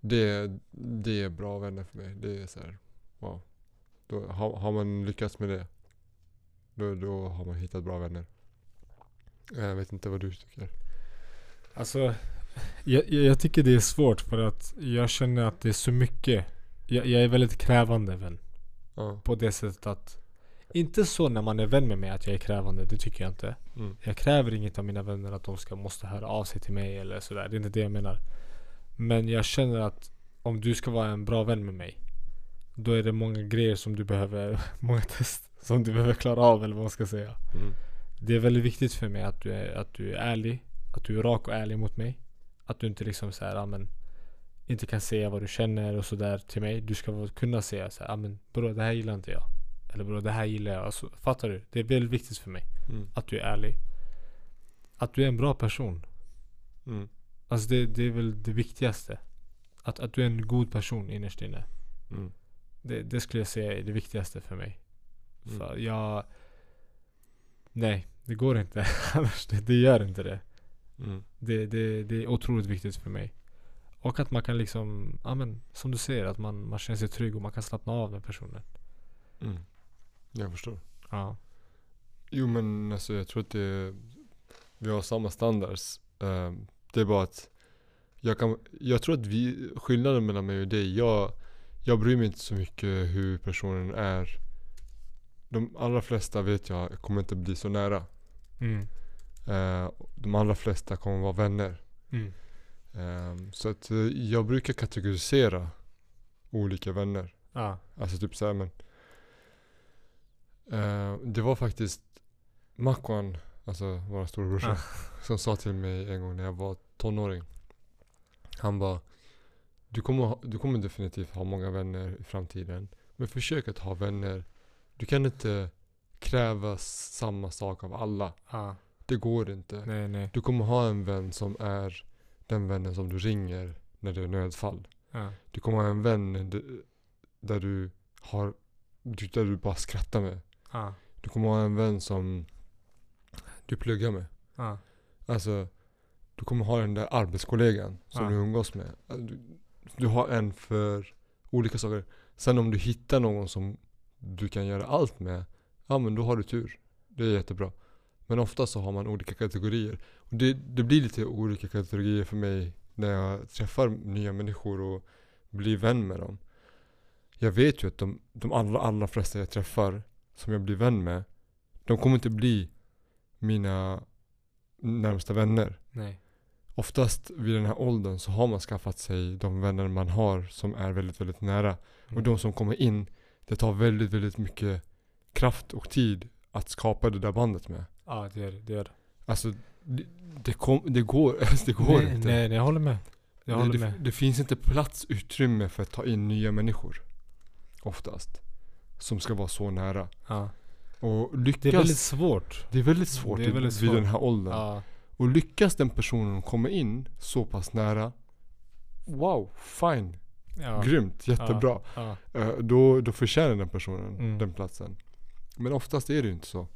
Det, det är bra vänner för mig. Det är så här, wow. Då, har, har man lyckats med det, då, då har man hittat bra vänner. Jag vet inte vad du tycker. Alltså, jag, jag jag tycker det är svårt för att jag känner att det är så mycket. Jag, jag är väldigt krävande vän. Ja. På det sättet att, inte så när man är vän med mig att jag är krävande, det tycker jag inte. Mm. Jag kräver inget av mina vänner att de ska, måste höra av sig till mig eller sådär. Det är inte det jag menar. Men jag känner att om du ska vara en bra vän med mig. Då är det många grejer som du behöver, [laughs] många test som du behöver klara av eller vad man ska säga. Mm. Det är väldigt viktigt för mig att du är, att du är ärlig. Att du är rak och ärlig mot mig. Att du inte liksom så här, ja, men inte kan säga vad du känner och sådär till mig. Du ska vara- kunna säga så här, ja, men bror det här gillar inte jag. Eller bror det här gillar jag. Alltså, fattar du? Det är väldigt viktigt för mig Mm. att du är ärlig. Att du är en bra person. Mm. Alltså det, det är väl det viktigaste. Att, att du är en god person innerst inne. Mm. Det, det skulle jag säga är det viktigaste för mig. Mm. För jag... Nej, det går inte. [laughs] Annars, det, det gör inte det. Mm. Det, det. det är otroligt viktigt för mig. Och att man kan liksom, ja men som du säger, att man, man känner sig trygg och man kan slappna av med personen. Mm. Jag förstår. Ja. Jo men alltså jag tror att det, vi har samma standards. Eh, det är bara att jag, kan, jag tror att vi, skillnaden mellan mig och dig, jag, jag bryr mig inte så mycket hur personen är. De allra flesta vet jag kommer inte bli så nära. Mm. Eh, de allra flesta kommer vara vänner. Mm. Eh, så att eh, jag brukar kategorisera olika vänner. Ja. Alltså typ såhär men. Eh, det var faktiskt Makwan, alltså vår storebrorsa, Ah. som sa till mig en gång när jag var tonåring. Han bara, du kommer, ha, du kommer definitivt ha många vänner i framtiden. Men försök att ha vänner. Du kan inte kräva s- samma sak av alla. ja. Det går inte. Nej, nej. Du kommer ha en vän som är den vännen som du ringer när det är nödfall Ja. du kommer ha en vän d- där du har, du- där du bara skrattar med. Ja. Du kommer ha en vän som du pluggar med. Ja. Alltså, du kommer ha den där arbetskollegan som Ja. du umgås med. Alltså, Du, du har en för olika saker. Sen om du hittar någon som du kan göra allt med, ja men då har du tur. Det är jättebra. Men ofta så har man olika kategorier. Och det, det blir lite olika kategorier för mig när jag träffar nya människor och blir vän med dem. Jag vet ju att de, de allra, allra flesta jag träffar, som jag blir vän med, de kommer inte bli mina närmsta vänner. Nej. Oftast vid den här åldern så har man skaffat sig de vänner man har som är väldigt, väldigt nära. Mm. Och de som kommer in, det tar väldigt, väldigt mycket kraft och tid att skapa det där bandet med. Ja, det gör det. det, gör det. Alltså, det, det, kom, det går, [laughs] alltså, det går nej, inte. nej, nej, jag håller med. Jag det, håller det, med. det finns inte plats, utrymme för att ta in nya människor. Oftast. Som ska vara så nära. Ja. Och lyckas, Det är väldigt svårt. det är väldigt svårt, det är väldigt vid svårt. den här åldern. Ja. Och lyckas den personen komma in så pass nära wow, fine, Ja. grymt, jättebra. Ja. Eh, Då, då förtjänar den personen Mm. den platsen. Men oftast är det ju inte så.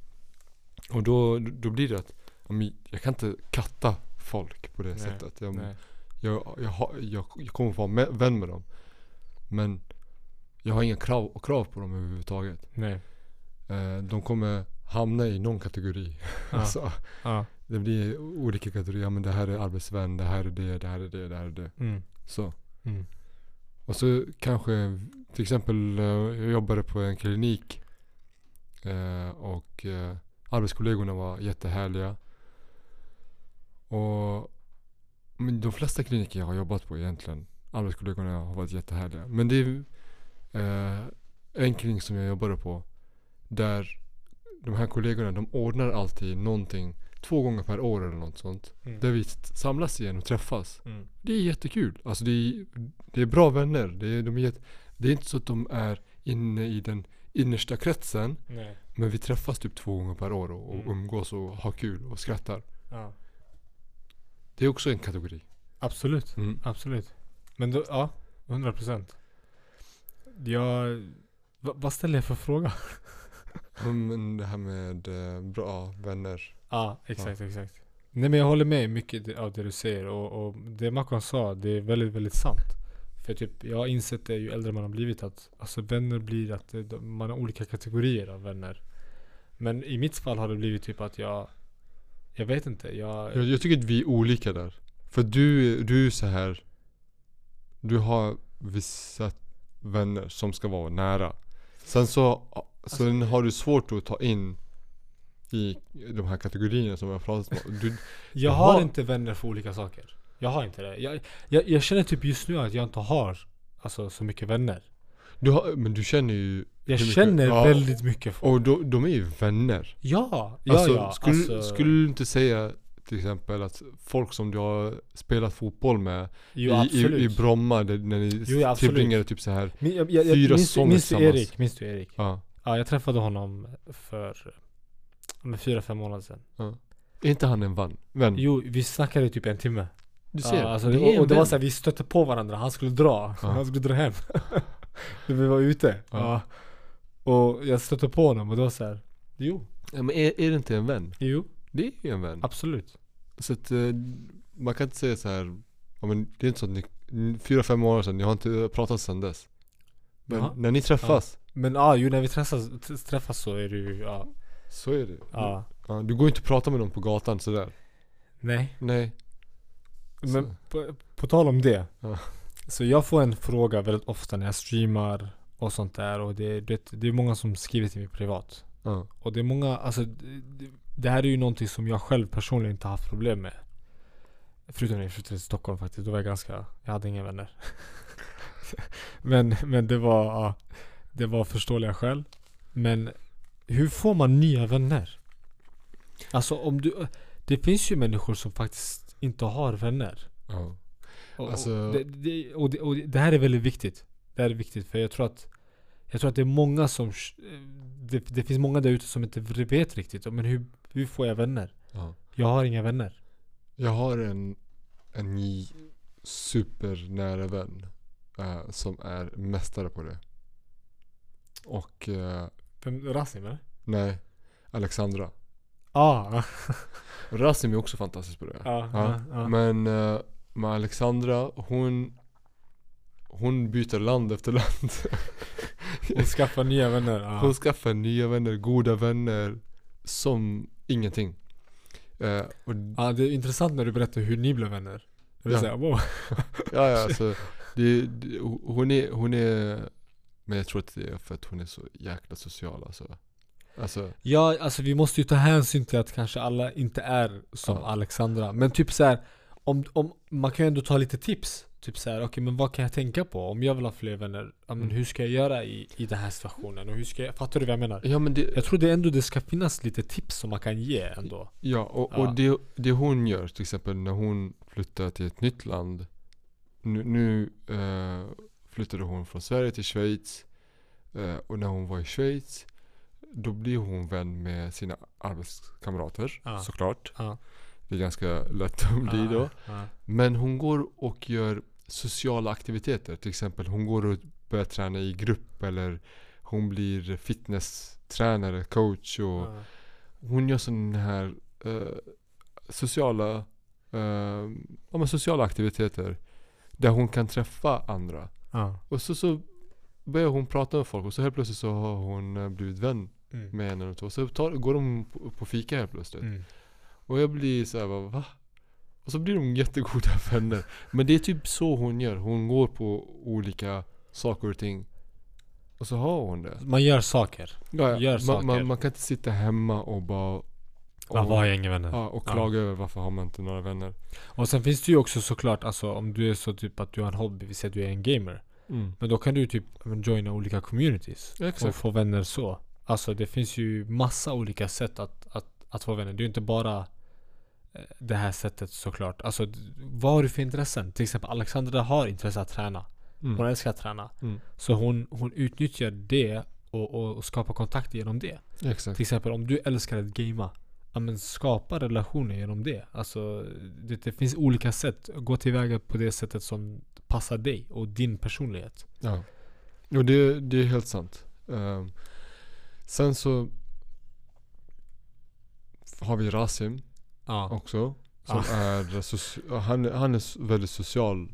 Och då, då blir det att ja, men jag kan inte katta folk på det Nej, sättet. Jag, Nej. jag, jag, har- jag, jag kommer få vara med, vän med dem. Men jag har inga krav, krav på dem överhuvudtaget. Nej. Eh, De kommer hamna i någon kategori. Ja. [laughs] Alltså, Ja. det blir olika kategorier. Men det här är arbetsvän, det här är det, det här är det, det här är det. Mm. Så. Mm. Och så kanske, till exempel, eh, jag jobbade på en klinik eh, och eh, arbetskollegorna var jättehärliga. Och men de flesta kliniker jag har jobbat på egentligen, arbetskollegorna har varit jättehärliga. Men det är eh, en klinik som jag jobbade på där de här kollegorna de ordnar alltid någonting två gånger per år eller något sånt. Mm. Där vi samlas igen och träffas. Mm. Det är jättekul. Alltså det är, det är bra vänner. Det är, de är, jätte- det är inte så att de är inne i den innersta kretsen. Nej. Men vi träffas typ två gånger per år och, och Mm. umgås och har kul och skrattar. Ja. Det är också en kategori. Absolut. Mm. Absolut. Men då, ja, 100 procent. Jag... Va, vad ställer jag för fråga? Mm, Men det här med eh, bra vänner. Ja, exakt, exakt. Nej men jag håller med i mycket det- av det du säger och, och det Macron sa, det är väldigt, väldigt sant. För typ, jag har insett det ju äldre man har blivit att alltså vänner blir att det, de- man har olika kategorier av vänner. Men i mitt fall har det blivit typ att jag, jag vet inte, jag... Jag, jag tycker att vi är olika där. För du, du är så här. Du har vissa vänner som ska vara nära. Sen så Alltså, sen har du svårt att ta in i de här kategorierna som jag har pratat om. Du, Jag Jaha. har inte vänner för olika saker. Jag har inte det. Jag, jag, jag känner typ just nu att jag inte har alltså, så mycket vänner. du har, men du känner ju Jag Hur mycket- känner ja. väldigt mycket folk. Och de, de är ju vänner. Ja, ja, Alltså, ja. skulle, alltså, skulle du inte säga till exempel att folk som du har spelat fotboll med jo, i, i, absolut. i Bromma där, när ni Jo, ja, absolut. tillbringade typ så här. Min- jag, jag, jag, fyra minns, du- säsonger minns du tillsammans. Erik? Minns du Erik? Ja. Ja, jag träffade honom för eh, med fyra, fem månader sedan. Är inte han en van, vän? Jo, vi snackade i typ en timme. du ser. Ja, alltså, det det är och, och en det var vän. såhär, vi stötte på varandra. Han skulle dra. Ja. Han skulle dra hem. [laughs] När vi var ute. Ja. Ja. Och jag stötte på honom och det var såhär, jo, ja, men är, är det inte en vän? jo, Det är ju en vän. absolut. Så att eh, man kan inte säga så här. Ja, men det är inte så att ni, n- fyra, fem månader sedan, ni har inte eh, pratat sedan dess. Men Jaha. när ni träffas, Men ja, ah, ju när vi träffas, t- träffas så är det ju, ja. så är det. ja. Ja, du går inte att prata med någon på gatan sådär. Nej. Nej. Så. Men på, på tal om det. Ja. Så jag får en fråga väldigt ofta när jag streamar och sånt där och det, det, det är många som skriver till mig privat. Ja. Och det är många, alltså det, det- det här är ju någonting som jag själv personligen inte haft problem med. Förutom när jag flyttade till Stockholm faktiskt, då var jag ganska, jag hade inga vänner. [laughs] men, men det var, ja, det var förståeliga skäl. Men hur får man nya vänner? Alltså om du, det finns ju människor som faktiskt inte har vänner. ja. Och, Alltså- och, det, det, och, det, och det- det här är väldigt viktigt. Det här är viktigt för jag tror att Jag tror att det är många som Det, det finns många där ute som inte vet riktigt men hur, hur får jag vänner? Ja. Jag har inga vänner. Jag har en, en ny supernära vän eh, som är mästare på det. Och eh, Vem, Rasim eller? nej, Alexandra. Ah, Rasim är också fantastisk på det. ja, Ja. ja, ja. Men eh, med Alexandra, hon, hon byter land efter land. Och skaffa nya vänner. Ja. Hon skaffar nya vänner, goda vänner, som ingenting. Eh, och, Ja, det är intressant när du berättar hur ni blev vänner. Det Ja. vill säga, wow. ja, ja, alltså, det, det, hon, är, hon är, men jag tror att det är för att hon är så jäkla social alltså. Alltså, Ja, alltså vi måste ju ta hänsyn till att kanske alla inte är som Ja. Alexandra. Men typ så här, om, om, man kan ju ändå ta lite tips. Typ så här, okej men vad kan jag tänka på? Om jag vill ha fler vänner, ja, men Mm. hur ska jag göra i, i den här situationen? Och hur ska jag, fattar du vad jag menar? ja men det, Jag tror det ändå det ska finnas lite tips som man kan ge ändå. Ja, och, Ja. och det, det hon gör till exempel när hon flyttar till ett nytt land. Nu, nu eh, flyttade hon från Sverige till Schweiz. Eh, och när hon var i Schweiz då blir hon vän med sina arbetskamrater Ja. såklart. Ja. Det är ganska lätt att bli då. Ja, Men hon går och gör sociala aktiviteter. Till exempel hon går och börjar träna i grupp eller hon blir fitnesstränare, coach och Ja. hon gör sådana här eh, sociala, eh, ja, men sociala aktiviteter där hon kan träffa andra. Ja. Och så, så börjar hon prata med folk och så helt plötsligt så har hon eh, blivit vän Mm. med en eller två. Så tar, går de på, på fika helt plötsligt. Mm. Och jag blir så här, bara, va? Och så blir de jättegoda [laughs] vänner. Men det är typ så hon gör. Hon går på olika saker och ting. Och så har hon det. Man gör saker. Ja, ja. Gör man, saker. man, man kan inte sitta hemma och bara... Varför och, har jag inga vänner? ja, och Typ. Ja. klaga över varför har man inte några vänner. Och sen finns det ju också såklart, alltså om du är så typ att du har en hobby, vi säger att du är en gamer. Men då kan du ju typ ja, men, joina olika communities. och Exakt. få vänner så. Alltså det finns ju massa olika sätt att, att, att få vänner. Det är ju inte bara eh, det här sättet såklart. Alltså d- vad har du för intressen? Till exempel Alexandra har intresse att träna. Mm. Hon älskar att träna. Mm. Så hon, hon utnyttjar det och, och, och skapar kontakt genom det. Exakt. Till exempel om du älskar att gamea. Ja men skapa relationer genom det. Alltså det, det finns olika sätt. Gå tillväga på det sättet som passar dig och din personlighet. Ja. Och det, det är helt sant. Ehm, sen så har vi Rasim Ja. också. Som Ah. är soci- han, han är s- väldigt social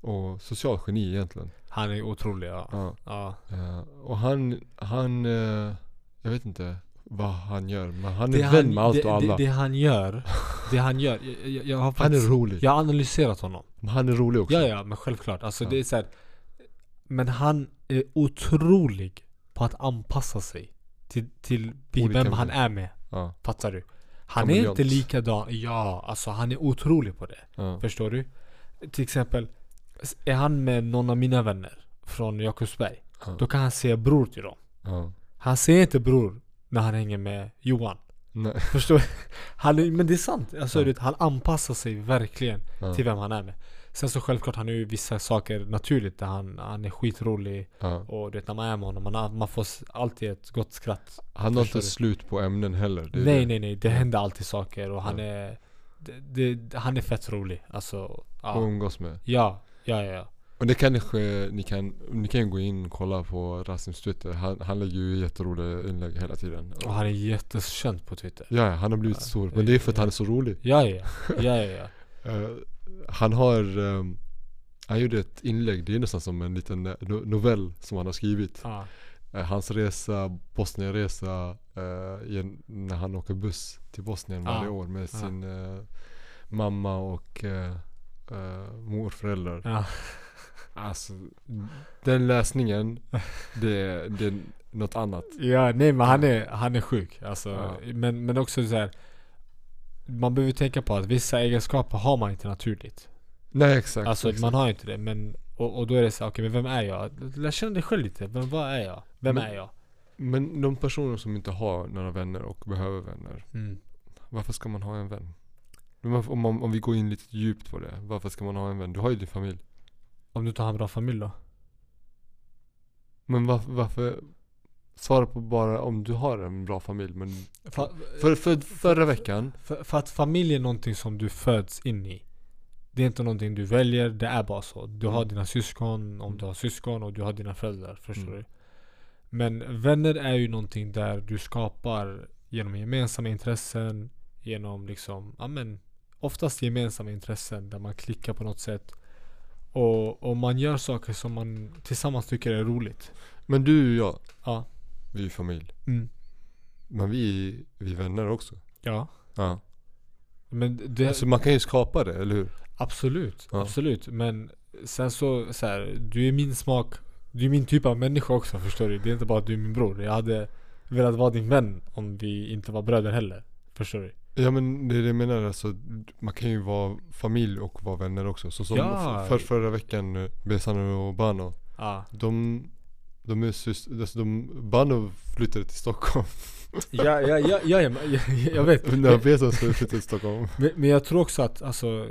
och social geni egentligen. Han är otrolig ja. Ja. ja. Eh, och han, han, eh, jag vet inte vad han gör men han är Det vän han- med allt det, och alla. Det, det han [laughs] gör, det han gör. Jag, jag, jag har han är faktiskt, rolig. jag har analyserat honom. Men Han är rolig också. Ja, ja, men självklart. Alltså Ja. det är så här, Men han är otrolig på att anpassa sig till, till vem Olika han människor. är med. Ja, Fattar du? Han är Kameleont. inte likadan. Ja, alltså han är otrolig på det. ja. Förstår du? Till exempel, s- är han med någon av mina vänner från Jakobsberg. Ja. Då kan han se bror till dem. ja. Han ser inte bror när han hänger med Johan. Nej. [laughs] Förstår du? han är, Men det är sant. Alltså, Ja. du vet, han anpassar sig verkligen Ja. till vem han är med. Sen så självklart, han har ju vissa saker naturligt där han, han är skitrolig. Ja. Och du vet när man är med honom, man, man får s- alltid ett gott skratt. Han har Förstår inte du? slut på ämnen heller. Det är Nej det. nej nej, det händer alltid saker och han Ja. är... Det, det, han är fett rolig. Alltså, Att ja. umgås med. Ja, ja, ja. ja. Och det kanske ni kan, ni kan gå in och kolla på Rasims Twitter. Han, han lägger ju jätteroliga inlägg hela tiden. Och han är jättekänd på Twitter. Ja, ja, han har blivit Ja. stor. Men det är för att han är så rolig. Ja, ja, ja. ja, ja, ja. Eh, han har, ehm, han gjorde ett inlägg, det är nästan som en liten eh, no- novell som han har skrivit. ja. Eh, hans resa, Bosnienresa, eh, i en- när han åker buss till Bosnien Ja. varje år med Ja. sin eh, mamma och eh, eh, morföräldrar. ja. Alltså, den läsningen, det, det är något annat. Ja, nej men han är, han är sjuk. Alltså, Ja. men, men också så här. Man behöver tänka på att vissa egenskaper har man inte naturligt. Nej exakt. Alltså exakt. man har inte det. Men, och, och då är det så här, okej men vem är jag? Lär känna dig själv lite. Men vad är jag? Vem Men- är jag? Men de personer som inte har några vänner och behöver vänner, Mm. Varför ska man ha en vän? Men varför- Om, om, om vi går in lite djupt på det. Varför ska man ha en vän? Du har ju din familj. Om du inte har en bra familj då? Men varför? varför svara på bara om du har en bra familj. Men För, för, för, förra veckan. för, för att familj är någonting som du föds in i. Det är inte någonting du väljer, det är bara så. Du har Mm. dina syskon, om Mm. du har syskon och du har dina föräldrar. Förstår Mm. du? Men vänner är ju någonting där du skapar genom gemensamma intressen, genom liksom, ja men oftast gemensamma intressen där man klickar på något sätt. Och, och man gör saker som man tillsammans tycker är roligt. Men du och jag, Ja. vi är ju familj. Mm. Men vi, är- vi är vänner också. Ja. Ja. Men det, Alltså man kan ju skapa det, eller hur? Absolut, Ja. absolut. Men sen så, så här, du är min smak, du är min typ av människa också förstår du. Det är inte bara att du är min bror. Jag hade velat vara din vän om vi inte var bröder heller. Förstår du? Ja men det är det jag menar. Alltså, man kan ju vara familj och vara vänner också. Så som Ja. för, förra veckan, eh, Besano och Bano. Ja, De, de är syster, alltså de, Bano flyttade till Stockholm. ja, ja, ja, ja, ja men- [laughs] jag- jag vet. När jag vet att jag flyttade [laughs] till Stockholm. Men, men jag tror också att alltså,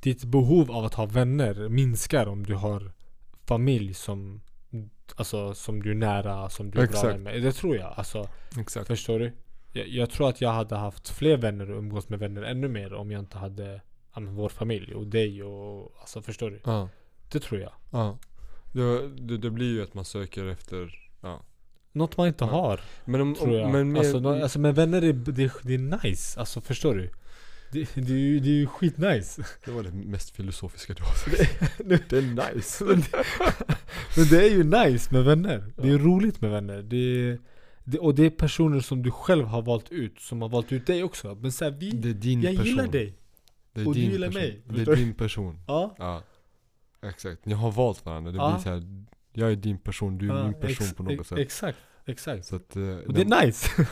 ditt behov av att ha vänner minskar om du har familj som, alltså, som du är nära, som du är bra Exakt. vän med. Det tror jag. Alltså, Exakt. Förstår du? Jag, jag tror att jag hade haft fler vänner och umgås med vänner ännu mer om jag inte hade ja, men vår familj och dig och alltså förstår du? Ja. Det tror jag. Ja. Det, det, det blir ju att man söker efter, Något man inte Ja. har, men om, tror jag. om men mer, alltså, nå- alltså, men vänner är, det, är- det är nice, alltså förstår du? Det, det, är, ju, det är ju [laughs] skitnice. det var det mest filosofiska du har sagt. nu- Det är nice. Men det är ju nice med vänner. Det är Ja. roligt med vänner. Det är, det, och det är personer som du själv har valt ut, som har valt ut dig också. Men såhär, vi, Det är din jag person. gillar dig. Det är och du din gillar person. mig. Det Förstår är du? din person. Ja, Ja. Exakt. Ni har valt varandra. Det Ja. blir så här, jag är din person, du är ja, min person ex- på något ex- sätt. Exakt, exakt. Så att, eh, Och det den- är nice. [laughs]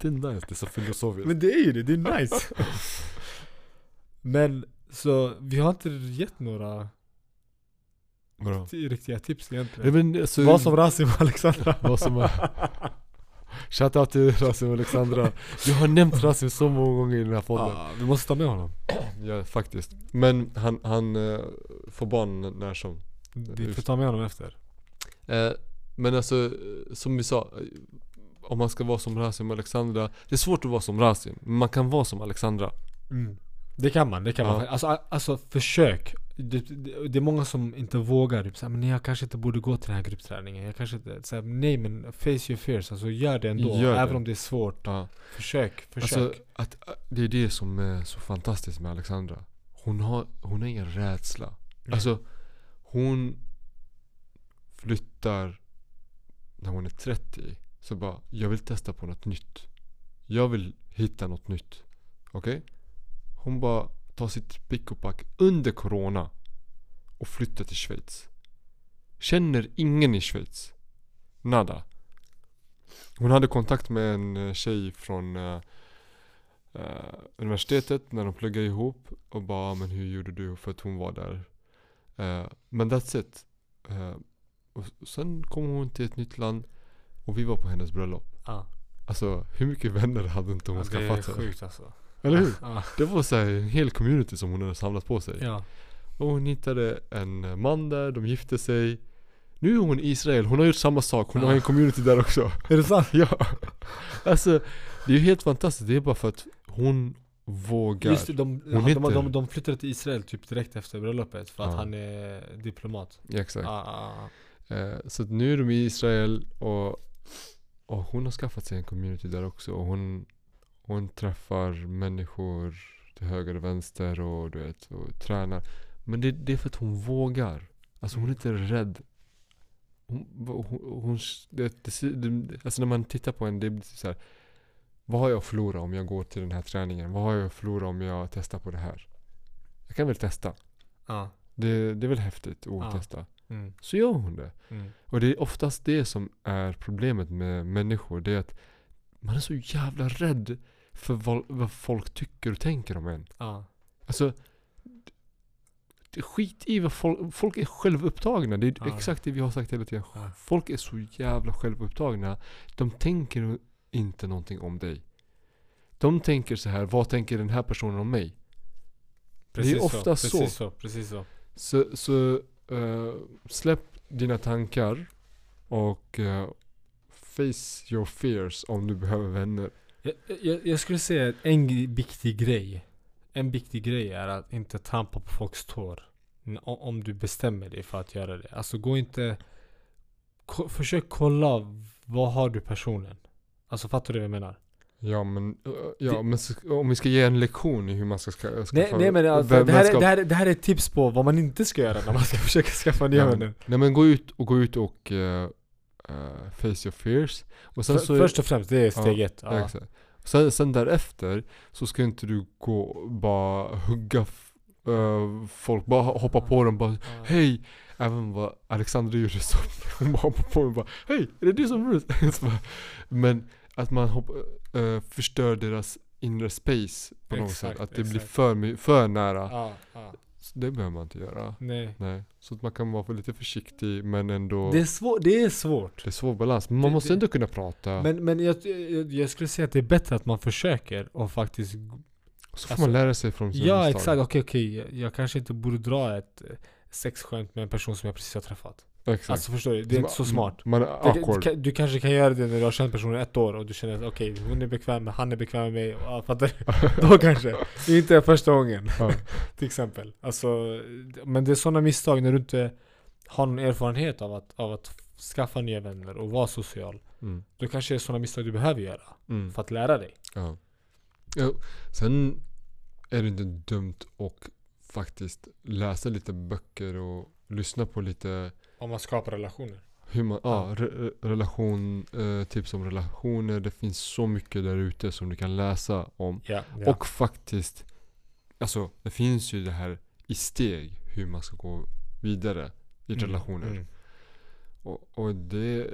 det är nice. Det är så filosofiskt. Men det är ju det, det är nice. Men så vi har inte gett några Bra. ti- riktiga tips egentligen. Nej, men, alltså, Vad som Rasim och Alexandra. Vad som- Shoutout till Rasim och Alexandra. Du har nämnt Rasim så många gånger i den här podden. Ja, vi måste ta med honom. Ja, faktiskt. Men han, han eh, får barn n- när som. Vi får ta med honom efter. Eh, men alltså, eh, som vi sa. eh, Om man ska vara som Rasim och Alexandra. Det är svårt att vara som Rasim. Men man kan vara som Alexandra. Det kan man, det kan man. Mm. Ja. Alltså, a- alltså försök. Det, det, det är många som inte vågar. Typ, såhär, men jag kanske inte borde gå till den här gruppträningen. Jag kanske inte, såhär, nej men face your fears. Alltså gör det ändå. Gör det. även om det är svårt. Ja. Försök, försök. Alltså, att, att- det är det som är så fantastiskt med Alexandra. Hon har, hon har ingen rädsla. Nej. Alltså, hon flyttar när hon är 30. Så bara, jag vill testa på något nytt. Jag vill hitta något nytt. Okej? Hon bara tar sitt pick och pack under corona och flyttar till Schweiz. Känner ingen i Schweiz. Nada. Hon hade kontakt med en eh, tjej från eh, eh, universitetet när de pluggade ihop och bara "Ah, men hur gjorde du? För att hon var där. Eh, men that's it. Eh, och s- sen kom hon till ett nytt land och vi var på hennes bröllop. ja. Alltså hur mycket vänner hade inte hon Ja, det är skaffat sig? sjukt alltså. Eller hur? Ja. Det var så här, en hel community som hon hade samlat på sig. ja. Och hon hittade en man där, de gifte sig. Nu är hon i Israel, hon har gjort samma sak. Hon Ja. har en community [laughs] där också. Är det sant? ja. Alltså, det är ju helt fantastiskt. Det är bara för att hon vågar. Just det, de, Hon han, de, heter- de, de flyttade till Israel typ direkt efter bröllopet för att Ja. han är diplomat. Ja, exakt. Ah, ah, Eh, så att nu är de i Israel och, och hon har skaffat sig en community där också. Och hon, hon träffar människor till höger och vänster och du vet, och tränar. Men det, det är för att hon vågar. Alltså hon är inte rädd. Hon, hon, hon, det, det, det, alltså när man tittar på en, det blir så här. Vad har jag att förlora om jag går till den här träningen? Vad har jag att förlora om jag testar på det här? Jag kan väl testa. ah, ah. Det, det är väl häftigt att Ja. testa. Mm, Så gör hon det. mm. Och det är oftast det som är problemet med människor. Det är att man är så jävla rädd för vad, vad folk tycker och tänker om en. Ah. Alltså, det- skit i vad folk, folk är självupptagna. Det är Ja. exakt det vi har sagt hela tiden. Ja. Folk är så jävla självupptagna. De tänker inte någonting om dig. De tänker så här, vad tänker den här personen om mig? Precis ofta så. så. Precis så, precis så. Så, så eh, släpp dina tankar och eh, face your fears om du behöver vänner. Jag, jag, jag skulle säga att en g- viktig grej. En viktig grej är att inte trampa på folks tår. N- o- Om du bestämmer dig för att göra det. Alltså gå inte... Ko, försök kolla vad har du personen. Alltså fattar du vad jag menar? Ja men, eh, ja, Det- men s- om vi ska ge en lektion i hur man ska ska- skaffa Nej, nej men alltså, vän- det, här är, vänskap. det, här, är- det här är ett tips på vad man inte ska göra när man ska [laughs] försöka skaffa nya Ja, vänner. Nej men gå ut och gå ut och eh, eh, face your fears. Och sen För, så, först och främst, det är Ja, steg ett. ja, Ja. exakt. Sen, sen därefter så ska inte du gå och bara hugga f- eh, folk, bara hoppa på dem bara Hej! Även vad Alexandra gjorde [laughs] som hon bara hoppade på mig och bara Hej! Är det du som Bruce? [laughs] Så bara, Men att man hopp, eh, förstör deras inre space på något Exakt, sätt. Att det blir exakt. för, my- för nära. Ja, ja. Så det behöver man inte göra. Nej. Nej. Så att man kan vara lite försiktig men ändå Det är, svår, det är svårt. Det är svår balans. Men man Det- måste det- ändå kunna prata. Men, men jag, jag, jag skulle säga att det är bättre att man försöker och faktiskt så får alltså- man lära sig från sina Ja misstag. exakt, okej okej. Jag, jag kanske inte borde dra ett eh, sexskämt med en person som jag precis har träffat. Exakt. Alltså förstår du? Det är inte så smart. Man är Det, du, awkward. kan- du kanske kan göra det när du har känt personen ett år och du känner att okej, hon är bekväm med, han är bekväm med mig. Ja, fattar [laughs] du? Då kanske. Inte första gången. Ja. [laughs] Till exempel. Alltså, men det är sådana misstag när du inte har någon erfarenhet av att, av att skaffa nya vänner och vara social. Mm. Då kanske det är sådana misstag du behöver göra Mm. för att lära dig. Ja. ja. Sen är det inte dumt och faktiskt läsa lite böcker och lyssna på lite Om man skapar relationer. hur man, ja, re, re- relation, eh, tips om relationer. Det finns så mycket där ute som du kan läsa om. Ja. ja. Och faktiskt, alltså det finns ju det här i steg hur man ska gå vidare i Mm, relationer. mm. Och, och det,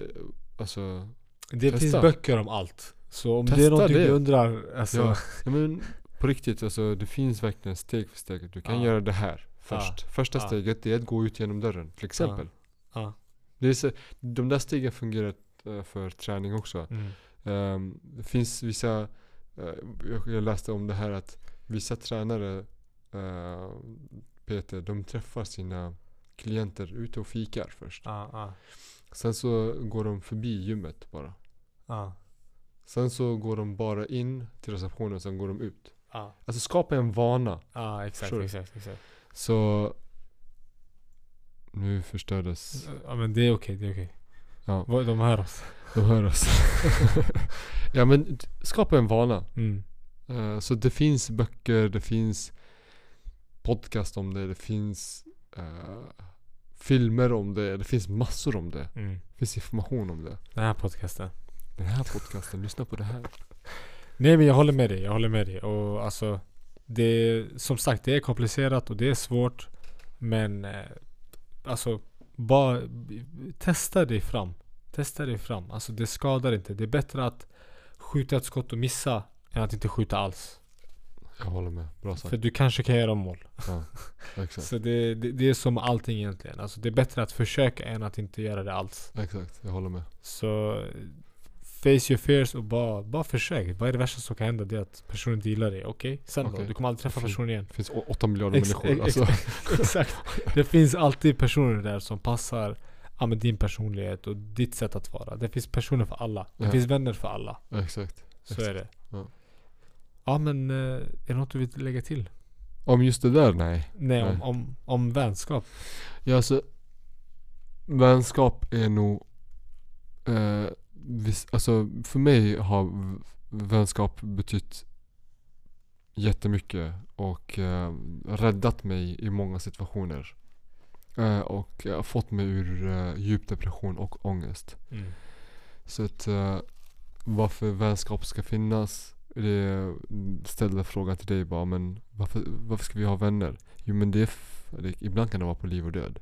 alltså, Det Testa. finns böcker om allt. Så om det är Testa någonting det. du undrar, alltså. Ja. ja, men på riktigt alltså det finns verkligen steg för steg. Du kan Ja. göra det här först. Första Ja. steget är att gå ut genom dörren till exempel. Ja. Det är så, de där stegen fungerar eh, för träning också. [laughs] Mm. Ehm, det finns vissa, eh, jag- jag läste om det här att vissa tränare, eh, Peter, de träffar sina klienter ute och fikar först. Ja, ja, Sen så går de förbi gymmet bara. ja, Sen så går de bara in till receptionen, sen går de ut. ja, Alltså skapa en vana. ja, Ah. exakt, Förstår du? exakt, exakt. Så... Nu förstördes... Ja men det är okej, det är okej. Ja. Vad- De hör oss. De hör oss. [laughs] ja men t- skapa en vana. Mm. Eh, så det finns böcker, det finns podcast om det, det finns eh, filmer om det, det finns massor om det. Mm. Det finns information om det. Den här podcasten. Den här podcasten, lyssna på det här. Nej men jag håller med dig, jag håller med dig. Och alltså, det är, som sagt det är komplicerat och det är svårt. Men eh, alltså, bara b- testa dig fram. Testa dig fram. Alltså det skadar inte. Det är bättre att skjuta ett skott och missa än att inte skjuta alls. Jag håller med, bra sagt. För du kanske kan göra mål. Exakt. Så det, det, det är som allting egentligen. Alltså det är bättre att försöka än att inte göra det alls. Exakt, jag håller med. Så eh, face your fears och bara, bara försök. Vad är det värsta som kan hända? Det är att personen inte gillar dig. Okej, sen då? Okej. Du kommer aldrig träffa Fint. personen [laughs] igen. [laughs] Det finns å- åtta miljarder Ex- ex- människor. Alltså, Exakt. Det finns alltid personer där som passar ja, men din personlighet och ditt sätt att vara. Det finns personer för alla. Det Ja. finns vänner för alla. [laughs] exakt. Så Exakt. är det. Ja. Ja men, eh, är det något du vill lägga till? Om just det där, nej. Nej, om, Nej. om, om vänskap. Ja, alltså, vänskap är nog... Eh, vis, alltså, för mig har v- vänskap betytt jättemycket och eh, räddat mig i många situationer. Eh, och eh, fått mig ur eh, djup depression och ångest. Mm. Så att eh, varför vänskap ska finnas, det ställde frågan till dig bara, men varför, varför ska vi ha vänner? Jo men det, är f- det ibland kan det vara på liv och död.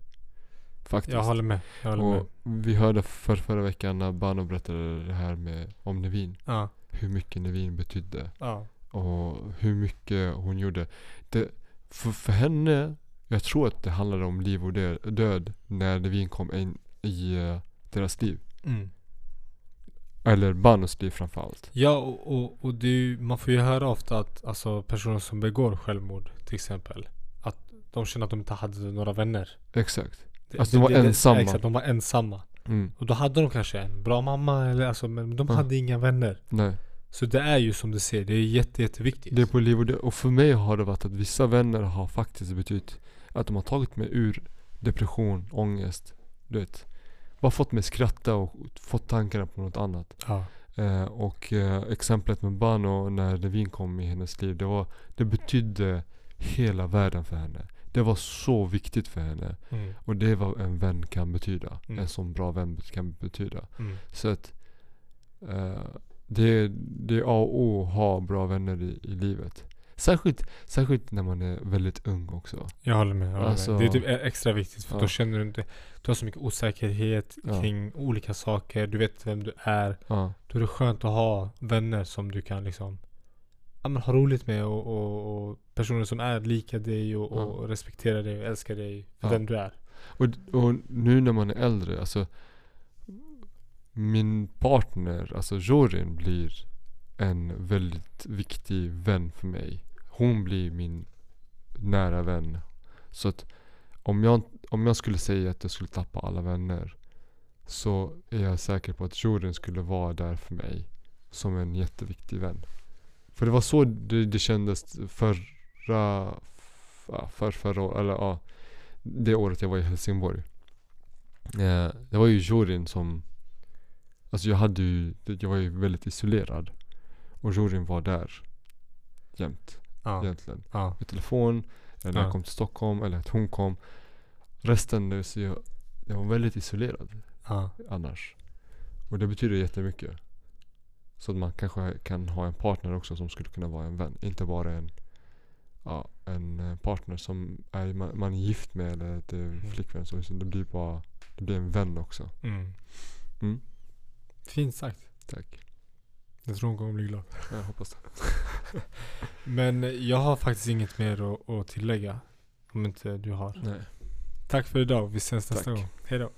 Faktiskt. Jag håller med. Jag håller med. och vi hörde för förra veckan när Bano berättade det här med, om Nevin. Ja, Hur mycket Nevin betydde ja, och hur mycket hon gjorde. Det, för, för henne, jag tror att det handlade om liv och dö- död när Nevin kom in i eh, deras liv. mm. Eller Banos liv framförallt. ja och, och, och du, man får ju höra ofta att alltså, personer som begår självmord till exempel, att de känner att de inte hade några vänner. Exakt. Det- Alltså, de var ensamma. Exakt, de var ensamma. Mm. Och då hade de kanske en bra mamma, eller, alltså, men de Ja. hade inga vänner. Nej, Så det är ju som du ser, det är jätte, jätteviktigt. det är på liv och död. Och för mig har det varit att vissa vänner har faktiskt betytt att de har tagit mig ur depression, ångest. Du vet. Bara fått mig skratta och fått tankarna på något annat. ja. Eh, och eh, exemplet med Bano när Levin kom i hennes liv. Det, var, det betydde hela världen för henne. Det var så viktigt för henne. Mm, Och det är vad en vän kan betyda. Mm. En sån bra vän kan betyda. mm, Så att eh, det, det är A och O att ha bra vänner i, i livet. Särskilt, särskilt när man är väldigt ung också. jag håller med. Jag håller Alltså- med. Det är typ e- extra viktigt för Ja. då känner du inte, du har så mycket osäkerhet Ja. kring olika saker, du vet vem du är. Ja, Då är det skönt att ha vänner som du kan liksom ja, men ha roligt med och, och, och personer som är lika dig och, Ja. och respekterar dig och älskar dig för Ja. den du är. Och, och nu när man är äldre, alltså min partner, alltså Jorin blir en väldigt viktig vän för mig. Hon blir min nära vän. Så att om jag, om jag skulle säga att jag skulle tappa alla vänner så är jag säker på att jorden skulle vara där för mig som en jätteviktig vän. För det var så det, det kändes förra, för, förra, eller ja, det året jag var i Helsingborg. Eh, det var ju juryn som, alltså jag hade ju, jag var ju väldigt isolerad. Och juryn var där jämt Ja. egentligen. Ja. Med telefon, eller när Ja. jag kom till Stockholm, eller att hon kom. Resten, det vill säga, jag var väldigt isolerad Ja. annars. Och det betyder jättemycket. Så att man kanske kan ha en partner också som skulle kunna vara en vän. Inte bara en, ja, en eh, partner som är, man, man är gift med eller att det är en flickvän. Så liksom det blir bara det blir en vän också. Mm. Mm. Fint sagt. Tack. Jag tror hon kommer bli [laughs] glad. Jag hoppas det. Men jag har faktiskt inget mer att, att tillägga. Om inte du har. Nej. Tack för idag. Vi ses nästa Tack. gång. Hejdå.